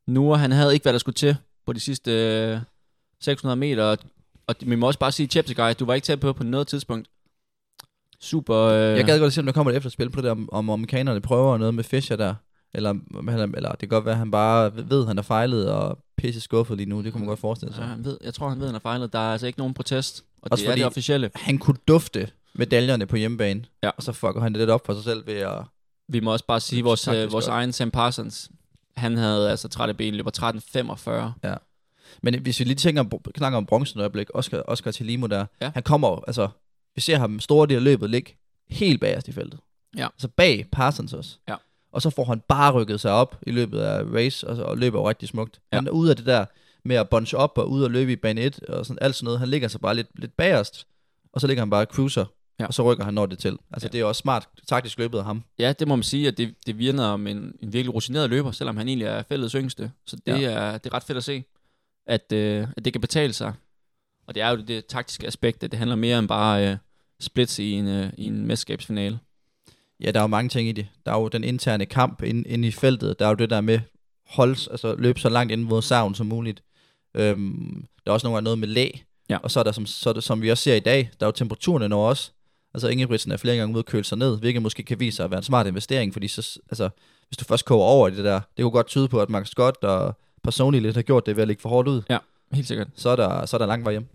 Noah, han havde ikke, hvad der skulle til på de sidste øh, 600 meter. og- Og vi må også bare sige, Cheptegei, du var ikke tæt på på noget tidspunkt. Super. Øh,
Jeg gad godt se, om der kommer et efterspil på det, om, om amerikanerne prøver noget med Fischer der. Eller, om han er- eller det kan godt være, at han bare ved, at han har fejlet og pisse skuffet lige nu. Det kunne man godt forestille
Ja,
sig.
Altså, han ved, jeg tror, han ved, han har fejlet. Der er altså ikke nogen protest, og
Også
det er
fordi-
det officielle.
Han kunne dufte medaljerne på hjemmebane.
Ja.
Og så fucker han det lidt op for sig selv ved at...
Vi må også bare sige,
Det
at
er
vores, øh,
taktisk
vores
godt.
egen Sam Parsons, han havde altså trætte ben, løber 13.45.
Men hvis vi lige tænker om, snakker om bronzen et øjeblik, Oscar, Oscar Tilimo der,
Ja.
ja. han kommer jo, altså, vi ser ham store del af løbet ligge helt bagerst i feltet.
Ja.
Altså bag Parsons også.
Ja.
Og så får han bare rykket sig op i løbet af race, og, så, og løber jo rigtig smukt.
Ja.
Ja. Han er ude af det der med at bunch op og ud og løbe i bane 1 og sådan, alt sådan noget. Han ligger sig bare lidt, lidt bagerst, og så ligger han bare og cruiser,
Ja.
ja. og så rykker han når det til. Altså
Ja.
ja. det er også smart taktisk løbet af ham.
Ja, det må man sige, at det, det virner om en, en virkelig rutineret løber, selvom han egentlig er fællets yngste. Så det, ja. er, det er ret fedt at se, at, øh, at det kan betale sig. Og det er jo det, det taktiske aspekt, at det handler mere end bare øh, splits i en, øh, i en mesterskabsfinale.
Ja, der er jo mange ting i det. Der er jo den interne kamp inde, inde i feltet. Der er jo det der med holds, altså løbe så langt ind mod savn som muligt. Øhm, der er også nogle gange noget med læ.
Ja.
Og så er der, som, så er der, som vi også ser i dag, der er jo temperaturen over os. Altså Ingebrigtsen er flere gange ude at køle sig ned, hvilket måske kan vise sig at være en smart investering, fordi så, altså, hvis du først koger over i det der, det kunne godt tyde på, at Max Scott og Personi lidt har gjort det ved at ligge for hårdt ud.
Helt sikkert.
Så er der, så er der lang vej hjem.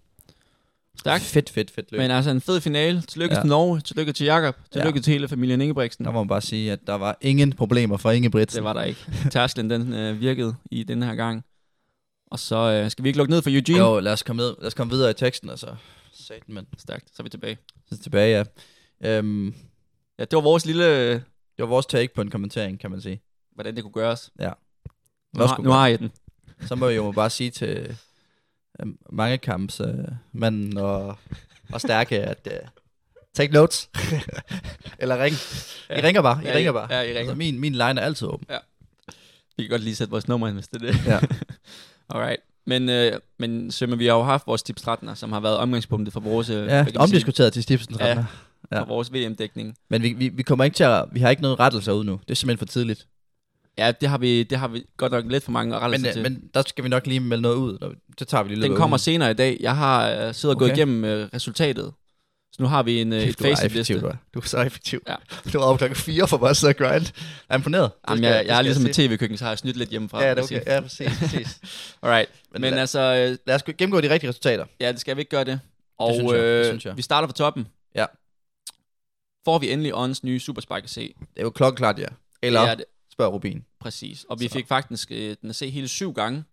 Stærkt.
Fedt, fedt, fedt løb.
Men altså en fed finale. Tillykke ja.
Ja.
til Norge, tillykke til Jakob, tillykke ja. til hele familien Ingebrigtsen.
Der må man bare sige, at der var ingen problemer for Ingebrigtsen.
Det var der ikke. Tærsklen, den øh, virkede i den her gang. Og så øh, skal vi ikke lukke ned for Eugene.
Jo, lad os komme, ned, lad os komme videre i teksten, altså. Satan, mand.
Stærkt, så er vi tilbage.
Så tilbage, ja. Øhm,
Ja, det var vores lille, øh,
det var vores take på en kommentering, kan man sige.
hvordan det kunne gøres.
Ja.
Nu har,
Også
nu har jeg den.
Så må jeg jo bare sige til øh, mange kamps øh, manden og, og stærke, at øh, take notes. Eller ring. I
Ja.
ringer bare. I
Ja, I-
ringer bare.
ja, I ringer.
Altså, min, min line er altid åben.
Vi kan godt lige sætte vores nummer ind, hvis det er det.
Ja.
Alright. Men, øh, men Sømme, vi har jo haft vores tips 13'er, som har været omgangspunktet for vores, øh, hvad kan
Ja,
man sige,
omdiskuteret til Stiftelsen.
Ja.
Ja.
for vores VM-dækning.
Men vi, vi, vi, kommer ikke til at, vi har ikke noget rettelser ud nu. Det er simpelthen for tidligt.
Ja, det har vi, det har vi godt nok lidt for mange rettelser
Men, øh,
til.
men der skal vi nok lige melde noget ud. Når, det tager vi lige
Den kommer senere i dag. Jeg har øh, siddet og gået
Okay.
igennem øh, resultatet. Så nu har vi en øh, et
Kæft, du er
facitliste.
effektiv, du er. Du er så effektiv.
Ja.
Du var op klokken 4 for bare at sidde og grind. Jeg er imponeret. Det
Jamen,
skal-
jeg,
det
jeg er
skal
ligesom et
sige.
tv-køkken, så har jeg snydt lidt hjemmefra.
Ja,
vil
det er
jeg
okay.
sige.
Ja, præcis, præcis.
Alright. Men,
Men
men
lad-
altså, øh,
Lad os gennemgå de rigtige resultater.
ja, det skal vi ikke gøre det. Og
synes jeg, det
øh,
synes jeg.
vi starter fra toppen.
Ja.
Får vi endelig Ons nye Super Spike at se.
Det er jo klokkeklart, ja. Eller
Det er det.
spørg Rubin.
Præcis. Og vi
Så.
fik faktisk øh, den at se hele syv gange,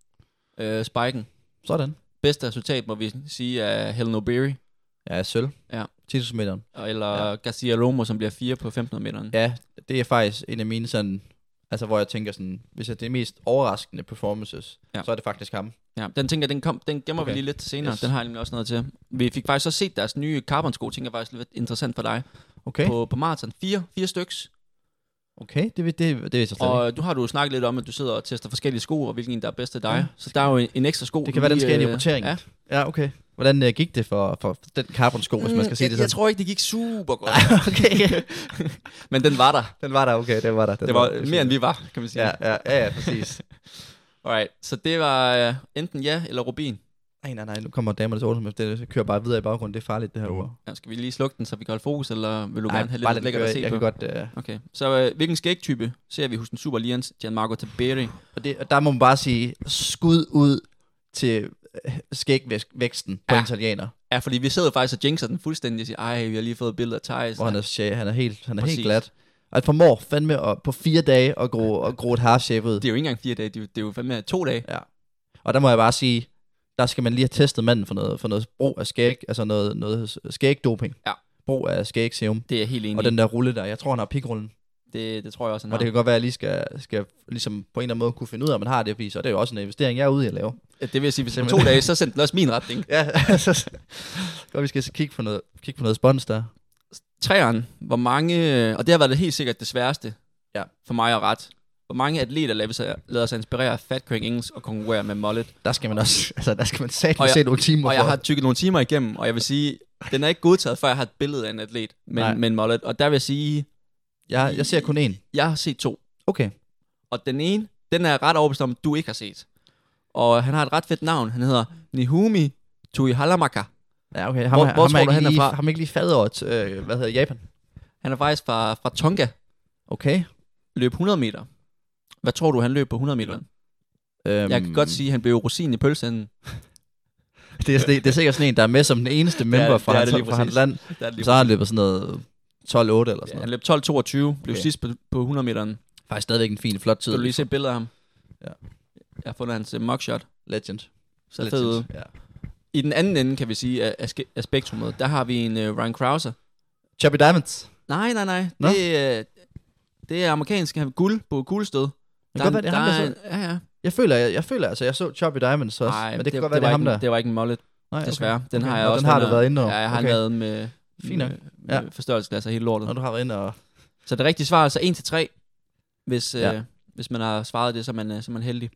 øh, spiken.
Sådan.
Bedste resultat, må vi sige, er Helen O'Beary,
Ja, sølv.
Ja.
10.000 meter.
eller ja. Garcia Lomo, som bliver 4 på 1500 meteren.
Ja, det er faktisk en af mine sådan... Altså, hvor jeg tænker sådan, hvis jeg det er mest overraskende performances,
Ja.
ja. så er det faktisk ham.
Ja, den tænker jeg, den, kom, den gemmer okay. vi
Okay.
lige lidt til senere. Yes.
Yes.
Den har jeg nemlig også noget til. Vi fik faktisk også set deres nye carbon-sko, tænker jeg faktisk lidt interessant for dig.
Okay,
På, på maraton. Fire, fire styks.
okay. Det, ved- det, det er så
Og øh, du har du jo snakket lidt om, at du sidder og tester forskellige sko, og hvilken der er bedst til dig.
Ja.
Så der er jo en, en ekstra sko.
Mm. Det
du
kan være, den
lige,
skal ind i
øh,
roteringen.
Ja.
Ja. ja, okay. Hvordan øh, gik det for, for den carbon-sko, hvis man skal sige
Mm, jeg,
det
jeg
sådan?
tror ikke, det gik super godt.
okay.
Men den var der.
den var der, okay. Den var der. Den
Det var mere, end vi var, kan man sige.
Ja, ja, ja, ja præcis.
Alright, så det var øh, enten ja eller rubin.
nej, nej, nej. Nu kommer damernes ordentligt. Det kører bare videre i baggrunden. Det er farligt, det her ur.
Ja, skal vi lige slukke den, så vi kan holde fokus, eller vil du
Nej,
gerne have
bare
lidt
lad
lækkert at
det
se
køre. Jeg
på?
kan godt... Øh,
Okay, så øh, hvilken skægtype ser vi hos den super lians Gianmarco Taberi?
og, det, og der må man bare sige, skud ud til øh, skægvæksten på
Ja.
ja. italiener,
Ja, fordi vi sidder faktisk og jinxer den fuldstændig og siger, ej, vi har lige fået billeder af Thijs.
hvor han er, sjæ- han er helt, han er
Præcis.
helt glat. Og at formår fandme at, på fire dage at gro, at gro et harshape ud.
Det er jo ikke engang fire dage, det er jo, det er jo fandme to dage.
Ja. Og der må jeg bare sige, der skal man lige have testet manden for noget, for noget brug af skæg, altså noget, noget skægdoping.
Ja.
Brug af skægserum.
Det er jeg helt enig
Og den der rulle der, jeg tror han har pikrullen.
i. Det, det tror jeg også, han
Og det
har.
kan godt være, at jeg lige skal, skal ligesom på en eller anden måde kunne finde ud af, at man har det, fordi så er det jo også en investering, jeg er ude i at lave.
Det, det vil jeg sige, hvis det er to
Simpelthen.
dage, så sendte den også min retning.
Ja, så godt, vi skal så kigge på noget, kigge på noget spons der.
Træeren, hvor mange, øh, og det har været det helt sikkert det sværeste
Ja.
for mig at ret. Hvor mange atleter lader sig, lader sig inspirere af Fat Craig Engels og konkurrere med Mullet.
Der skal man også, altså der skal man
Og
satme
jeg-
se nogle timer
Og
for.
jeg har tykket nogle timer igennem, og jeg vil sige, den er ikke godtaget, før jeg har et billede af en atlet med,
Nej.
med en Mullet. Og der vil jeg sige,
jeg, jeg ser kun én.
jeg har set to.
Okay.
Og den ene, den er jeg ret overbevist om, du ikke har set. Og han har et ret fedt navn. Han hedder Nihumi Tuihalamaka.
Ja, okay. Ham,
Hvor-
ham
hvor tror
ikke
du, han er
lige-
fra?
Ham er ikke lige fadet over til, øh, hvad hedder Japan.
Han er faktisk fra, fra Tonga.
Okay.
Løb 100 meter. Hvad tror du, han løb på 100 meter? Øhm.
Øhm,
Jeg kan godt sige, at han blev rosin i pølsen.
Det er, det er sikkert sådan en, der er med som den eneste member
det
fra,
er
hans,
det lige
fra
præcis.
hans land.
Der er lige...
Så har han løbet sådan noget 12-8 eller sådan
ja,
noget.
han løb 12.22, blev okay.
Okay.
sidst på, på 100 meteren.
Faktisk stadigvæk en fin, flot
Så
tid.
du lige se et billede af ham.
Ja.
Jeg har fundet hans øh, mugshot.
Legend.
Så
Legend.
fed ud.
Ja.
I den anden ende, kan vi sige, af, af, ske- af spektrummet, der har vi en uh, Ryan Krauser.
Chubby Diamonds.
Nej, nej, nej.
Nå.
Det, øh, det er amerikansk. Han har guld på guldstød.
Det kan godt være, det er ham, der så.
Ja, ja.
Jeg føler, jeg, jeg føler, altså, jeg så Chubby Diamonds også.
Nej,
men det, kan godt være, det
var
er ham
ikke,
der.
en- Det var ikke en mullet,
Nej, okay.
desværre. Den
Okay.
har jeg
Nå,
også.
den har du
under-
været inde over.
Ja, jeg har
Okay.
lavet med,
Fint nok.
med,
Ja.
med forstørrelsesglas og hele lortet.
Når du har været inde og...
Så det rigtige svar er altså 1-3, hvis,
Ja.
øh, hvis man har svaret det, så er man, øh, så er man heldig.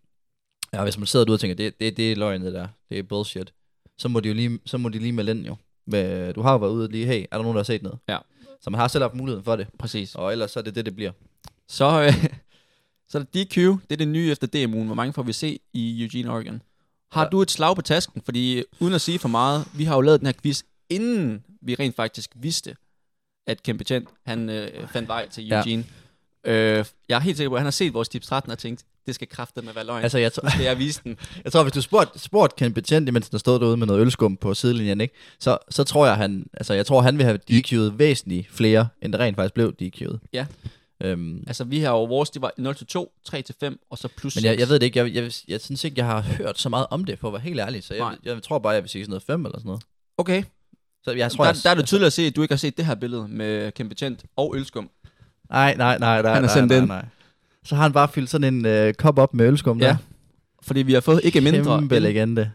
Ja, hvis man sidder derude og tænker, det, det, det er løgn, det der. Det er bullshit. Så må de jo lige, så må de lige melde ind, jo. Men, du har jo været ude og lige, hey, er der nogen, der har set noget?
Ja.
Så man har selv haft muligheden for det.
Præcis.
Og ellers så er det det, det bliver.
Så, øh, så er der DQ. Det er det nye efter DMU'en. Hvor mange får vi se i Eugene, Oregon? Har
Ja.
du et slag på tasken? Fordi øh, uden at sige for meget, vi har jo lavet den her quiz, inden vi rent faktisk vidste, at Kempe Chen, han øh, fandt vej til
Ja.
Eugene. Øh, jeg er helt sikker på, at han har set vores tips 13 og tænkt, det skal kraftedeme være løgn. Altså,
Altså, jeg, tror,
skal jeg vise den?
Jeg tror, hvis du spurgte spurgt Ken Betjent, imens der stod derude med noget ølskum på sidelinjen, ikke? Så, så tror jeg, han, altså, jeg tror, han vil have DQ'et væsentligt flere, end det rent faktisk blev DQ'et.
Ja.
Øhm,
Altså, vi har jo vores, det var 0-2, 3-5, og så plus
men jeg, jeg ved det ikke, jeg, jeg, jeg, jeg synes ikke, jeg har hørt så meget om det, for at være helt ærlig, så
Nej.
jeg, jeg, tror bare, jeg vil sige sådan noget 5 eller sådan noget.
Okay,
Så jeg tror,
der,
jeg,
der er det tydeligt at se, at du ikke har set det her billede med Kempe Chen og Ølskum.
Nej, nej, nej, nej,
Han har
nej,
sendt
nej,
den.
nej. Så har han bare fyldt sådan en øh, kop op med ølskum
Ja,
der.
Fordi vi har fået ikke mindre
Kæmpe
end
legende.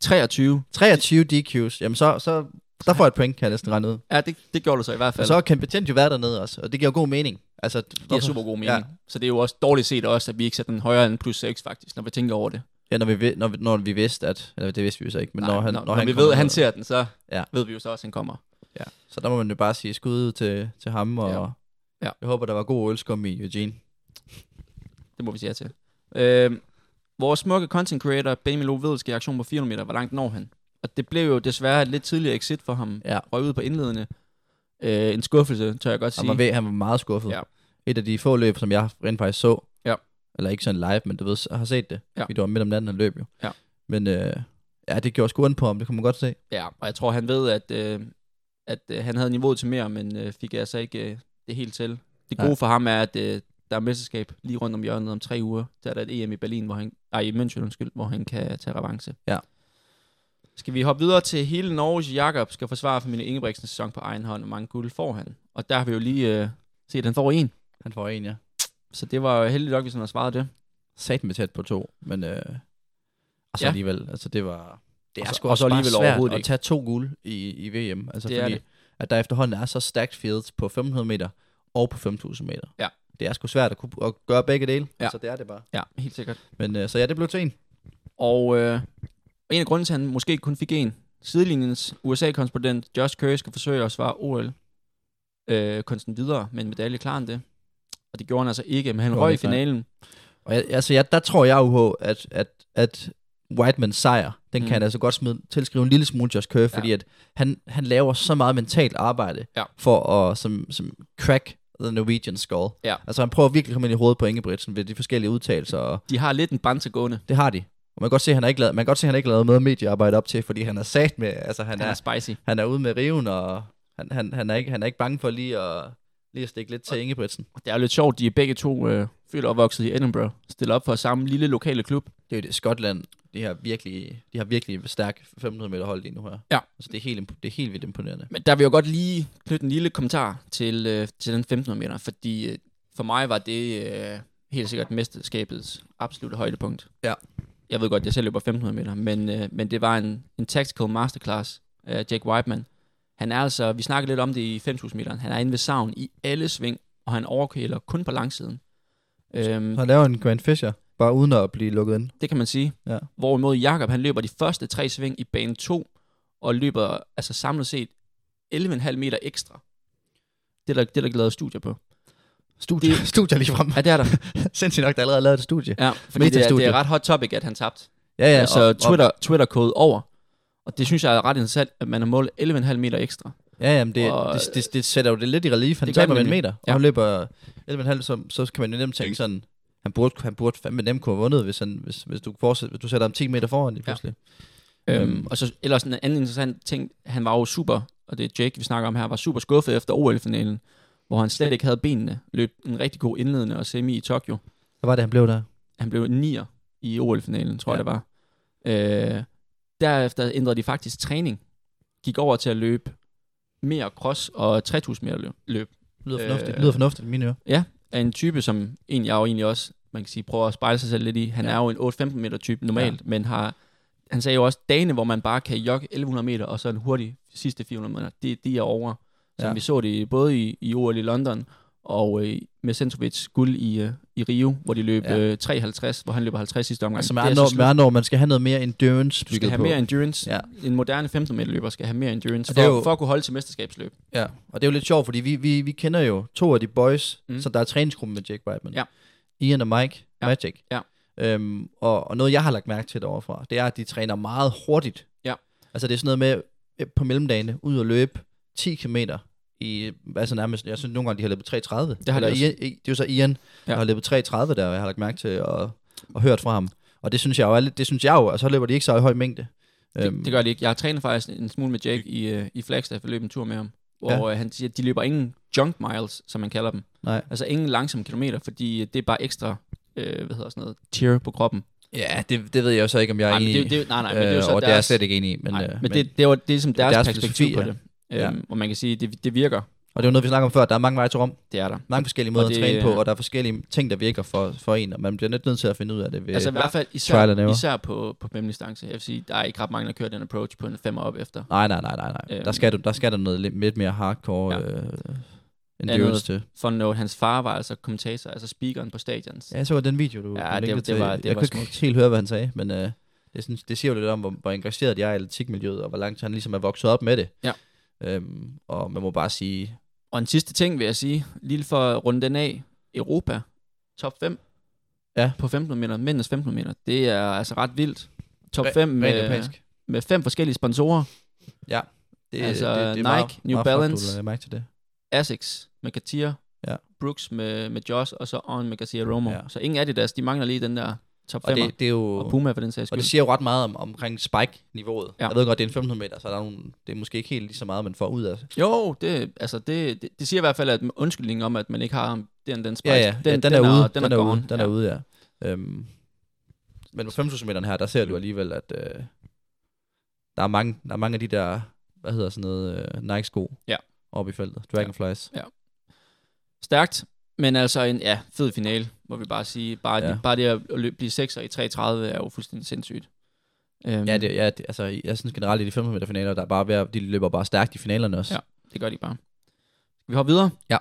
23
23 DQ's, jamen så, så der får jeg et point, kan jeg næsten regne ud.
Ja, det, det gjorde du så i hvert
Og
fald.
så har Ken Betjent jo været dernede også, og det giver jo god mening. Altså,
det giver super god mening. Ja. Så det er jo også dårligt set også, at vi ikke sætter den højere end plus 6 faktisk, når vi tænker over det.
Ja, når vi, ved- når, vi, når vi vidste, at... Eller det vidste vi jo så ikke, men når han...
når,
Når,
når
han
vi
kommer
ved, at han
ned.
ser den, så ja.
Ja.
ved vi jo så også, at han kommer.
Ja. Så der må man jo bare sige skud ud til, til ham, og...
Ja.
Ja.
Ja.
Jeg håber, der var god ølskum i Eugene.
Det må vi sige ja til. Øh, vores smukke content creator, Benjamin Loh Vedel, skal i aktion på 400 meter. Hvor langt når han? Og det blev jo desværre et lidt tidligere exit for ham.
Ja.
Røg ud på indledende. Øh, en skuffelse, tør jeg godt
Han
sige.
var, ved, han var meget skuffet.
Ja.
Et af de få løb, som jeg rent faktisk så.
Ja.
Eller ikke sådan live, men du ved, jeg har set det.
Ja.
Fordi det var midt om natten, han løb jo.
Ja.
Men øh, ja, det gjorde sgu ondt på ham, det kunne man godt se.
Ja, og jeg tror, han ved, at, øh, at øh, han havde niveauet til mere, men øh, fik altså ikke øh, det helt til. Det gode
Nej.
for ham er, at øh, der er mesterskab lige rundt om hjørnet om tre uger. Der er der et EM i Berlin, hvor han, ej, i München, undskyld, hvor han kan tage revanche.
Ja.
Skal vi hoppe videre til hele Norges Jakob skal forsvare for mine Ingebrigtsens sæson på egen hånd, og mange guld får han. Og der har vi jo lige øh, set, at han får en.
Han får en, ja.
Så det var jo heldigt nok, hvis han har svaret det.
Sat med tæt på to, men... Øh, og så
Ja.
ja. alligevel, altså det var... Det
er
og så,
sgu
og så
også bare
alligevel
svært
overhovedet
at
at tage to guld i, i VM. Altså
Det er
fordi,
det.
at der efterhånden er så stacked fields på 500 meter og på 5000 meter.
Ja.
Det er sgu svært at, kunne, at gøre begge dele,
Ja.
så det er det bare.
Ja, helt sikkert.
Men øh, så ja, det blev til en.
Og øh, en af grunden til, at han måske kun fik en, sidelinjens USA-korrespondent Josh Curry skal forsøge at svare ol øh, kunsten videre med en medalje klar end det. Og det gjorde han altså ikke, men han
Gjorde
røg
han
i
ikke, nej.
finalen.
Og jeg, altså, jeg, der tror jeg jo på, at, at, at Whitemans sejr, den
Mm.
mm. kan han altså godt smide, tilskrive en lille smule Josh Kerr, ja. fordi at han, han laver så meget mentalt arbejde
Ja.
for at som, som crack the Norwegian skull.
Ja.
Altså han prøver virkelig at komme ind i hovedet på Ingebrigtsen ved de forskellige udtalelser, og
De har lidt en banse gående.
det har de. Og man kan godt se, at han har ikke lavet, man kan godt se, at han ikke har lavet noget mediearbejde op til, fordi han er sat med, altså han,
Han er
er,
spicy.
han er ude med riven, og han, han, han, er, ikke, han er ikke bange for lige at, lige at stikke lidt til Ingebrigtsen.
Det er jo lidt sjovt, de er begge to øh, født og opvokset i Edinburgh. Stiller op for samme lille lokale klub.
det er jo det, Skotland, de har virkelig, de har virkelig stærk 500 meter hold lige nu her.
Ja.
Altså, det er helt, imp- det er helt vildt imponerende.
Men der vil jeg godt lige knytte en lille kommentar til, øh, til den 1500 meter, fordi øh, for mig var det øh, helt sikkert mesterskabets absolutte højdepunkt.
Ja.
Jeg ved godt, jeg selv løber 1500 meter, men, øh, men det var en, en tactical masterclass af Jake Whiteman. Han er altså, vi snakkede lidt om det i 5000 meter, han er inde ved savn i alle sving, og han overkæler kun på langsiden. Øhm,
Han laver en Grand Fisher, bare uden at blive lukket ind.
Det kan man sige.
Ja.
Hvorimod Jakob han løber de første tre sving i bane 2, og løber altså samlet set 11,5 meter ekstra. Det er der, det er der ikke lavet studier på.
Studie,
Det-
studier lige frem.
Ja, det er der.
Sindssygt nok, der allerede er lavet et studie.
Ja, fordi det er, det
Metastudie.
er ret hot topic, at han tabte.
Ja, ja.
Ja, altså Twitter, Twitter-kode over. Og det synes jeg er ret interessant, at man har målt 11,5 meter ekstra.
ja, jamen, det,
og-
det, det, det, sætter jo det lidt i relief. Han
Det gør
taber
det
med en
nemlig.
meter,
Ja.
og han løber 11,5, så, så kan man jo nemt tænke sådan, han burde, han burde fandme nemt kunne have vundet, hvis, han, hvis, hvis, du, fortsætter, hvis du sætter ham 10 meter foran lige
Ja.
pludselig.
Øhm.
Øhm.
og så ellers en anden interessant ting, han var jo super, og det er Jake, vi snakker om her, var super skuffet efter OL-finalen, hvor han slet ikke havde benene. Løb en rigtig god indledende og semi i Tokyo.
Hvad var det, han blev der?
han blev nier i OL-finalen, tror ja.
Ja.
jeg det var. Øh, derefter ændrede de faktisk træning. Gik over til at løbe mere cross og 3000 meter løb. løb.
Lyder
Øh,
fornuftigt. Lyder fornuftigt, i mine ører.
Af en type, som egentlig jeg jo egentlig også, man kan sige, prøver at spejle sig selv lidt i. Han ja.
Ja.
er jo en 8-15 meter type normalt, ja. men har, han sagde jo også, dagene, hvor man bare kan jogge 1100 meter og så en hurtig sidste 400 meter, det, det er over. Som ja.
Ja.
vi så det i- både i, i OL i London og øh, med Sensovic guld i, øh, i Rio, hvor de løb ja.
Ja.
øh, 3,50, hvor han løber 50 sidste omgang.
Altså med
Det er
andre,
så
med andre ord, man skal have noget mere endurance
Du skal
bygget
have
på.
mere endurance. Ja.
Ja.
En moderne 15 meter løber skal have mere endurance
Og
for,
det er
jo...
jo-
for at kunne holde til mesterskabsløb.
Ja, og det er jo lidt sjovt, fordi vi, vi, vi kender jo to af de boys,
Mm.
mm. så der er træningsgruppen med Jake Whiteman.
Ja.
Ian og Mike,
Ja.
ja. Magic.
Ja.
Øhm, og, og noget, jeg har lagt mærke til derovre det er, at de træner meget hurtigt.
Ja.
Altså det er sådan noget med, øh, på mellemdagene, ud og løbe 10 km i, altså nærmest, jeg synes nogle gange, de har løbet 3.30.
Det har de
Eller
også.
Ian, I- det er jo så Ian,
Ja.
ja. der har løbet 3.30 der, jeg har lagt mærke til og, og hørt fra ham. Og det synes jeg jo er lidt, det synes jeg jo, og så løber de ikke så i høj mængde. Øhm,
Det, det gør det ikke. Jeg har trænet faktisk en smule med Jake i, øh, i Flagstaff. Jeg løb en tur med ham. Hvor
Ja.
ja. han siger, at de løber ingen junk miles, som man kalder dem.
Nej.
Altså ingen langsomme kilometer, fordi det er bare ekstra øh, hvad hedder sådan noget, tear på kroppen.
Ja, det, det ved jeg jo så ikke, om jeg er
Ej, men
enig
det, er
i.
jo- det, er jo- nej, nej, men det er jo
Øh,
så
og det er jeg
deres,
slet ikke enig i. Men,
nej,
øh,
men, det, det, er jo, det er som deres,
deres
perspektiv på
filosofi,
det.
ja.
Øhm, Og man kan sige, at det, det virker.
og det er jo noget, vi snakker om før. Der er mange veje til rum.
Det er der.
Mange forskellige måder
det,
at træne på,
øh,
og der er forskellige ting, der virker for, for en, og man bliver lidt nødt til at finde ud af det. Ved,
Altså i hvert fald
trial and
især,
error.
især på, på mellemdistance. Jeg vil sige, der er ikke ret mange, der kører den approach på en femmer op efter.
Nej, nej, nej, nej. nej.
Øhm.
der, skal du, der skal der noget lidt, lidt mere hardcore
Ja.
ja. øh, endurance til.
for note, hans far var altså kommentator, altså speakeren på stadions.
Ja, jeg så den video, du
Ja,
du
det-
linkede
det
til.
var- det
jeg
var
kunne
smukt.
ikke helt høre, hvad han sagde, men øh, det, synes, det siger jo lidt om, hvor, hvor engageret jeg er i atletikmiljøet, og hvor langt han ligesom er vokset op med det.
Ja.
Øhm, og man må bare sige,
Og en sidste ting vil jeg sige, lige for at runde den af, Europa, top 5
Ja.
på 15 meter, mændenes 15 meter, det er altså ret vildt. Top øh,
Re-
5
rent
med,
europæisk.
med fem forskellige sponsorer,
Det,
altså,
det, det er
Nike,
meget,
New
meget flot,
Balance.
Du lagde mærke til det.
Asics med Katia,
Ja.
Brooks med, med Josh, og så On med Katia Romo.
Ja.
Så ingen af de deres, de mangler lige den der top 5.
Og det, det er jo...
og Puma for den sags
Og
skyld.
det siger jo ret meget om, omkring spike-niveauet.
Ja.
Ja. Jeg ved godt, det er en 1500 meter, så der er nogle, det er måske ikke helt lige så meget, man får ud af.
Jo, det, altså det, det, det siger i hvert fald, at undskyldningen om, at man ikke har den, den spice,
Ja, ja.
den,
Den, ja, den, er, ude.
Den, er,
ude.
gone.
Den
ja.
er ude, ja. Øhm, men på 5000 meterne her, der ser du alligevel, at øh, der, er mange, der er mange af de der, hvad hedder sådan noget, øh, Nike-sko
Ja.
oppe i feltet. Dragonflies.
Stærkt, men altså en ja, fed finale, må vi bare sige. Bare, ja.
Ja.
bare det at løbe, blive 6 i 33 er jo fuldstændig sindssygt. Øhm,
Ja, ja, det, ja det, altså, jeg synes generelt, at de 500 meter finaler, der er bare ved, at- de løber bare stærkt i finalerne også.
Ja. Det gør de bare. Skal vi hoppe videre?
Ja.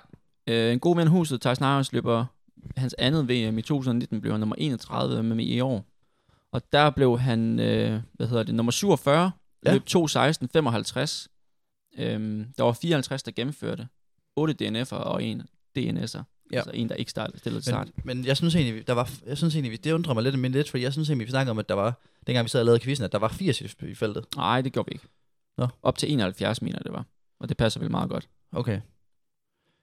Øh, en god ven i huset, Thijs Neiers, løber hans andet VM i 2019, blev han nummer 31 med E i år. Og der blev han, øh, hvad hedder det, nummer 47, ja.
Ja.
løb 2.16, 55. Øhm, der var 54, der gennemførte. 8 DNF'er og en DNS'er. Ja.
Ja.
Altså en, der ikke startede, stillede til start.
Men, men jeg synes egentlig, der var, jeg synes egentlig, det undrer mig lidt, men lidt, fordi jeg synes egentlig, vi snakkede om, at der var, dengang vi sad og lavede quizzen, at der var 80 i i feltet.
Nej, det gjorde vi ikke.
Nå.
Op til 71, mener jeg, det var. Og det passer vel meget godt.
Okay.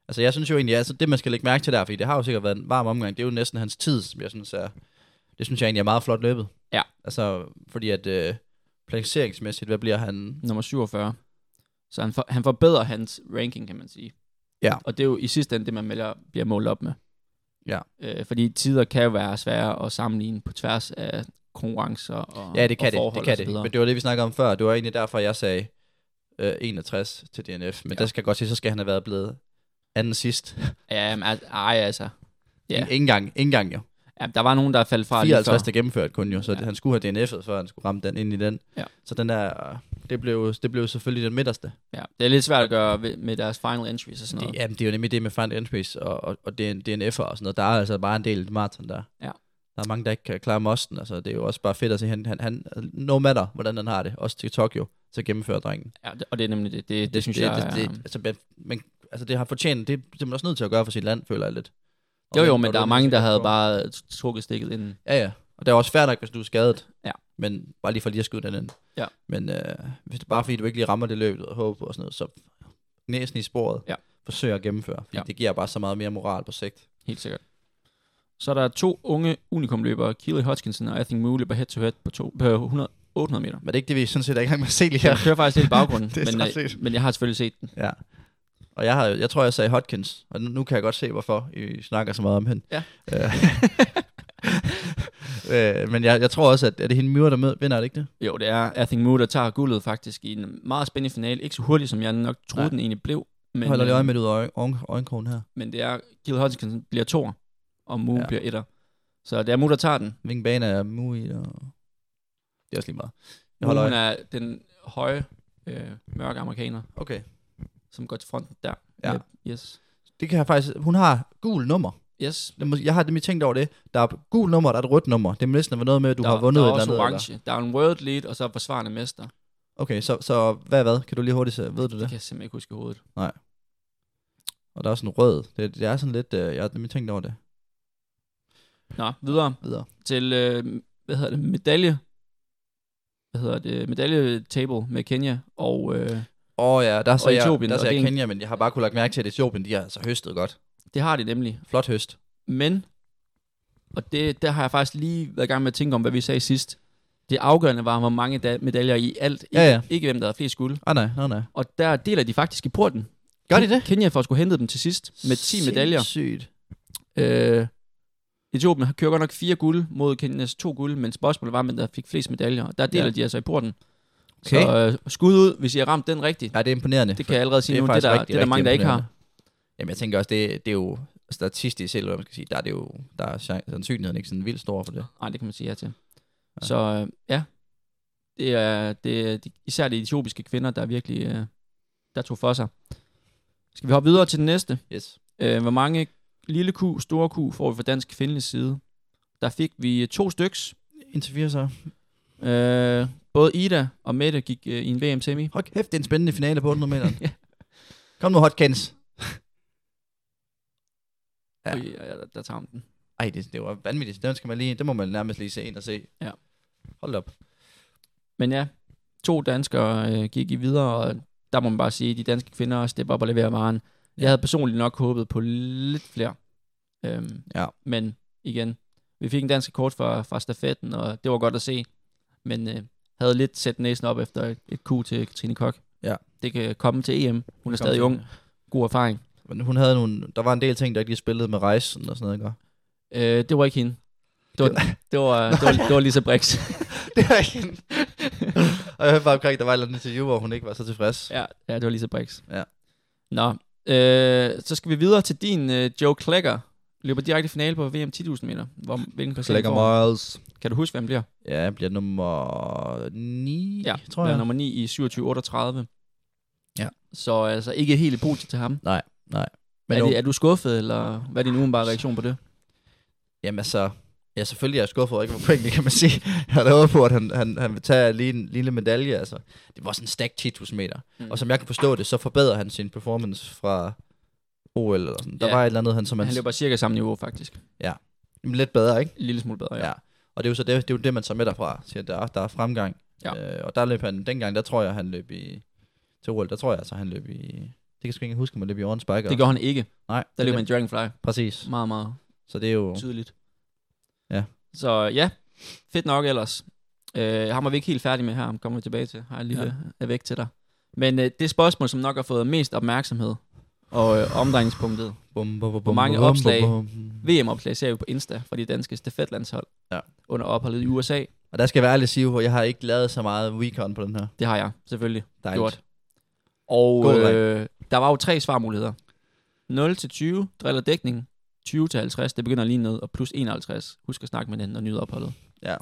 Altså, jeg synes jo egentlig, altså, det man skal lægge mærke til der, fordi det har jo sikkert været en varm omgang, det er jo næsten hans tid, som jeg synes er, det synes jeg egentlig er meget flot løbet.
Ja.
Altså, fordi at øh, placeringsmæssigt, hvad bliver han?
nummer 47. Så han, for, han forbedrer hans ranking, kan man sige.
Ja.
Og det er jo i sidste ende det, man melder, bliver målt op med.
Ja.
Øh, fordi tider kan jo være svære at sammenligne på tværs af konkurrencer og
Ja, det
og
kan det,
forhold
det kan
og så
det.
videre.
Men det var det, vi snakkede om før, det var egentlig derfor, jeg sagde øh, 61 til DNF, men
Ja.
ja. der skal jeg godt sige, så skal han have været blevet anden sidst.
Ja, men altså, ej, altså. Ja.
Ja. Ingen gang, ingen gang jo.
Ja, der var nogen, der faldt fra lige
54
før.
der gennemført kun jo, så
Ja.
ja. han skulle have DNF'et, før han skulle ramme den ind i den.
Ja.
Så den der, det blev, det blev selvfølgelig den midterste.
Ja, det er lidt svært at gøre ved, med deres final entries og sådan noget.
Det, jamen, det er jo nemlig det med Find Entries og, og, og DN, DNF'er og sådan noget. Der er altså bare en del maraton der.
Ja.
Der er mange, der ikke kan klare mosten. Altså, det er jo også bare fedt at se, han, han, han no matter, hvordan han har det, også til Tokyo, så gennemfører drengen.
Ja, det- og det er nemlig det. Det, det, det synes jeg
det, det,
er...
det, altså, men, men, altså, det har fortjent, det, det er man også nødt til at gøre for sit land, føler jeg lidt. Og
Jo, jo,
når
men
du
der er
nødt
mange,
til
der
at
havde
gå-
bare øh, trukket stikket inden.
Ja, ja. Og det er også fair nok, hvis du er skadet.
Ja.
Men bare lige for lige at skyde den ind.
Ja.
Men øh, hvis det er bare fordi, du ikke lige rammer det løb og håber og sådan noget, så næsen i sporet.
Ja.
Forsøg at gennemføre. Fordi
Ja.
ja. det giver bare så meget mere moral på sigt.
Helt sikkert. Så er der to unge unikomløbere, Keely Hodgkinson og Athing Moo, løber head-to-head på, to, på 100, 800 meter.
Men det er ikke det, vi sådan set er i gang med at se lige
Jeg
her.
kører faktisk lidt i baggrunden,
Det er
men,
så
øh,
sygt.
men jeg har selvfølgelig set den.
Ja. Og jeg, har, jeg tror, jeg sagde Hodkins, og nu, nu kan jeg godt se, hvorfor I snakker så meget om hende.
Ja.
Øh, øh, men jeg, jeg tror også, at er det hende Myre, der mød, vinder, er det ikke det?
Jo, det er Athing Moo, der tager guldet faktisk i en meget spændende finale. Ikke så hurtigt, som jeg nok troede,
Nej.
den egentlig blev.
Men,
Men,
holder lige øje
øh,
med det ud af øjen- øjen- øjenkrogen her.
men det er, Keely Hodgkinson bliver toer, og Moo ja.
Ja.
bliver etter. Så det er Moo, der tager den.
Hvilken bane er Mui? Og... Det er også lige meget.
Moo
Jeg holder
hun
øje.
er den høje, øh, mørke amerikaner,
Okay.
som går til fronten der.
Ja.
Yes.
Det kan jeg faktisk... Hun har gul nummer.
Yes.
Jeg må- Jeg har nemlig tænkt over det. Der er gul nummer, der er et rødt nummer. Det må næsten være noget med, at du
der,
har vundet
der er
et eller
også
andet. Eller?
orange. Der er en world lead, og så er forsvarende mester.
Okay, så, så hvad er hvad? Kan du lige hurtigt se? Ved du
Det
det?
kan jeg simpelthen ikke huske i hovedet.
Og der er også en rød. Det, det er sådan lidt... Øh, jeg har nemlig tænkt over det.
Nå, videre
Videre.
til, øh, hvad hedder det, medalje. Hvad hedder det, medaljetable med Kenya og øh,
Åh oh, ja, der så jeg,
Etiopien,
der
og
så
det er
jeg
en-
Kenya, men jeg har bare kunne lagt mærke til, at Etiopien, de har altså høstet godt.
det har de nemlig.
Flot høst.
Men, og det, der har jeg faktisk lige været i gang med at tænke om, hvad vi sagde sidst. Det afgørende var, hvor mange da- medaljer i alt. Ikke,
Ja, ja.
ikke hvem der havde flest guld.
Ah nej, nej, nej.
Og der deler de faktisk i porten.
Gør de det?
Kenya får sgu hentet dem til sidst med 10 medaljer.
Sygt.
Øh, Etiopien har kørt godt nok fire guld mod Kenyas to guld, men spørgsmålet var, men der fik flest medaljer. og Der deler ja.
Ja.
de altså i porten.
Okay.
Så øh, skud ud, hvis I har ramt den rigtigt. Ja,
Ja, det er imponerende.
det kan jeg allerede sige
det er
nu, det
faktisk
der,
rigtig,
det er der
rigtig
mange, der ikke har.
imponerende. Jamen jeg tænker også, det, det er jo statistisk selv, hvad man skal sige. Der er, det jo, der er chan- sandsynligheden ikke sådan vildt stor for det.
Nej, det kan man sige ja til. Ja.
Ja.
Så øh, ja, det er, det er de, især de etiopiske kvinder, der virkelig øh, der tog for sig. Skal vi hoppe videre til den næste?
Yes.
Øh, hvor mange lille ku, store ku får vi fra dansk kvindelig side? Der fik vi øh, to styks.
Indtil fire så.
Øh, både Ida og Mette gik øh, i en VM-semi.
Hold kæft, det er en spændende finale på 100 meter. Kom nu, Hotkins.
Ja.
Ja.
ja, der, der tager hun den.
Ej, det, det var vanvittigt. Den skal man lige, det må man nærmest lige se ind og se.
Ja.
Hold op.
Men ja, to danskere øh, gik i videre, og der må man bare sige, at de danske kvinder stepper op og leverer varen. Ja. Jeg havde personligt nok håbet på lidt flere. Øhm,
Ja.
Men igen, Vi fik en dansk kort fra, fra stafetten, og det var godt at se. Men øh, havde lidt sat næsen op efter et, et Q til Trine Kok.
Ja.
Det kan komme til E EM. Hun er stadig ung. God erfaring.
Men hun havde nogle, der var en del ting, der ikke lige spillede med rejsen og sådan noget, ikke?
Øh, det var ikke hende. Det var, det var, det var, det var Lisa Brix.
det var ikke hende. og jeg hørte bare omkring, der var et eller andet interview, hvor hun ikke var så tilfreds.
ja, ja, det var Lisa Brix.
Ja.
Nå, øh, så skal vi videre til din øh, Joe Klækker. Løber direkte i finale på VM 10.000 meter. Hvor, hvilken placering
Slækker
får han?
Miles.
Kan du huske, hvem bliver?
Ja, jeg bliver nummer 9,
Ja,
tror
bliver
jeg.
nummer 9 i 27.38.
Ja.
Så altså ikke helt i positivt til ham.
Nej, nej.
Men er,
nu-
det, er du skuffet, eller hvad er din umiddelbare reaktion på det?
Jamen altså, ja, selvfølgelig er jeg skuffet over ikke på pointene, kan man sige. Jeg havde håbet på, at han, han, han vil tage lige en lille medalje. Altså. Det var sådan en stack 10.000 meter. Mm. Og som jeg kan forstå det, så forbedrer han sin performance fra OL eller sådan. Der
Ja.
var et eller andet, han som
Men
han,
han løber cirka samme niveau, faktisk.
Jamen, lidt bedre, ikke?
En lille smule bedre, ja.
Ja. Og det er jo så det, det, er jo det man tager med derfra, siger, der, er- der er fremgang.
Ja.
Øh, og der løb han, dengang, der tror jeg, han løb i, til OL, der tror jeg altså, han løb i, det kan jeg sgu ikke huske, om han løb i Orange Spiker.
Det gjorde han ikke.
Nej, det
Der
er
løb
det.
han Dragonfly.
Præcis.
Meget, meget
Så det er jo,
tydeligt.
Ja.
Så ja, fedt nok ellers. Øh, ham er vi ikke helt færdige med her, ham kommer vi tilbage til. Har jeg lige ja. er væk til dig. Men øh, det spørgsmål, som nok har fået mest opmærksomhed og øh, omdrejningspunktet,
bum, bum, bum,
Hvor mange
bum, bum,
opslag?
bum.
VM-opslag ser vi på Insta fra de danske stafetlandshold
Ja.
under opholdet i USA.
Og der skal jeg være ærlig at sige, at jeg har ikke lavet så meget recon på den her.
Det har jeg selvfølgelig
Dejligt.
gjort. Og
God dreng.
øh, der var jo tre svarmuligheder. 0 til 20, driller dækning. 20 til 50, det begynder lige ned. Og plus 51, husk at snakke med den og nyde opholdet.
Ja.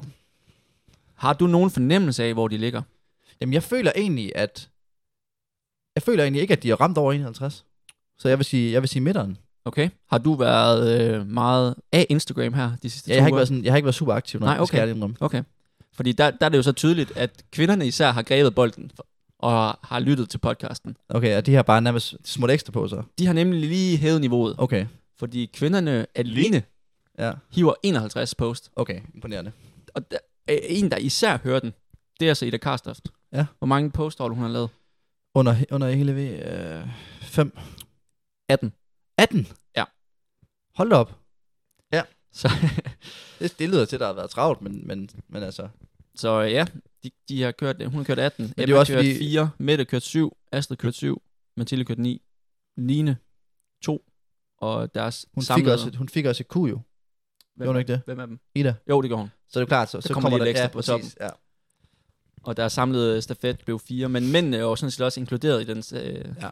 Har du nogen fornemmelse af, hvor de ligger?
Jamen, jeg føler egentlig, at... Jeg føler egentlig ikke, at de er ramt over 51. Så jeg vil sige, jeg vil sige midteren.
Okay. Har du været øh, meget af Instagram her de sidste
Ja,
to
jeg, har ikke
uger?
været sådan, jeg har ikke været super aktiv, når
Nej,
det skal
okay.
jeg lige indrømme.
Okay. Fordi der, der er det jo så tydeligt, at kvinderne især har grebet bolden og har lyttet til podcasten.
Okay, og de har bare nærmest smurt ekstra på sig.
De har nemlig lige hævet niveauet,
Okay,
fordi kvinderne alene
ja.
hiver 51 post.
Okay, imponerende.
og der, øh, en, der især hører den, det er altså Ida Karstoft.
Ja.
Hvor mange postår hun har lavet?
Under, under hele ved... Øh, 5.
18.
18?
Ja.
Hold da op.
Så,
Det, det lyder til, at der har været travlt, men, men, men altså...
så øh, ja, de, de har kørt, hun har kørt 18, Emma
er
det er
også
kørt
fordi-
4, Mette kørt 7, Astrid kørt 7, Mathilde kørt 9, Line 2, og deres
Hun fik,
samlede...
også, et- hun fik også et Q jo.
Hvem-
Gjorde hun ikke det?
Hvem af dem?
Ida.
Jo, det gjorde hun.
Så er det klart, så,
Der kommer lige et ekstra på toppen.
Ja.
Og deres samlede stafet blev 4, men mændene er jo sådan set også inkluderet i den... Øh,
Ja.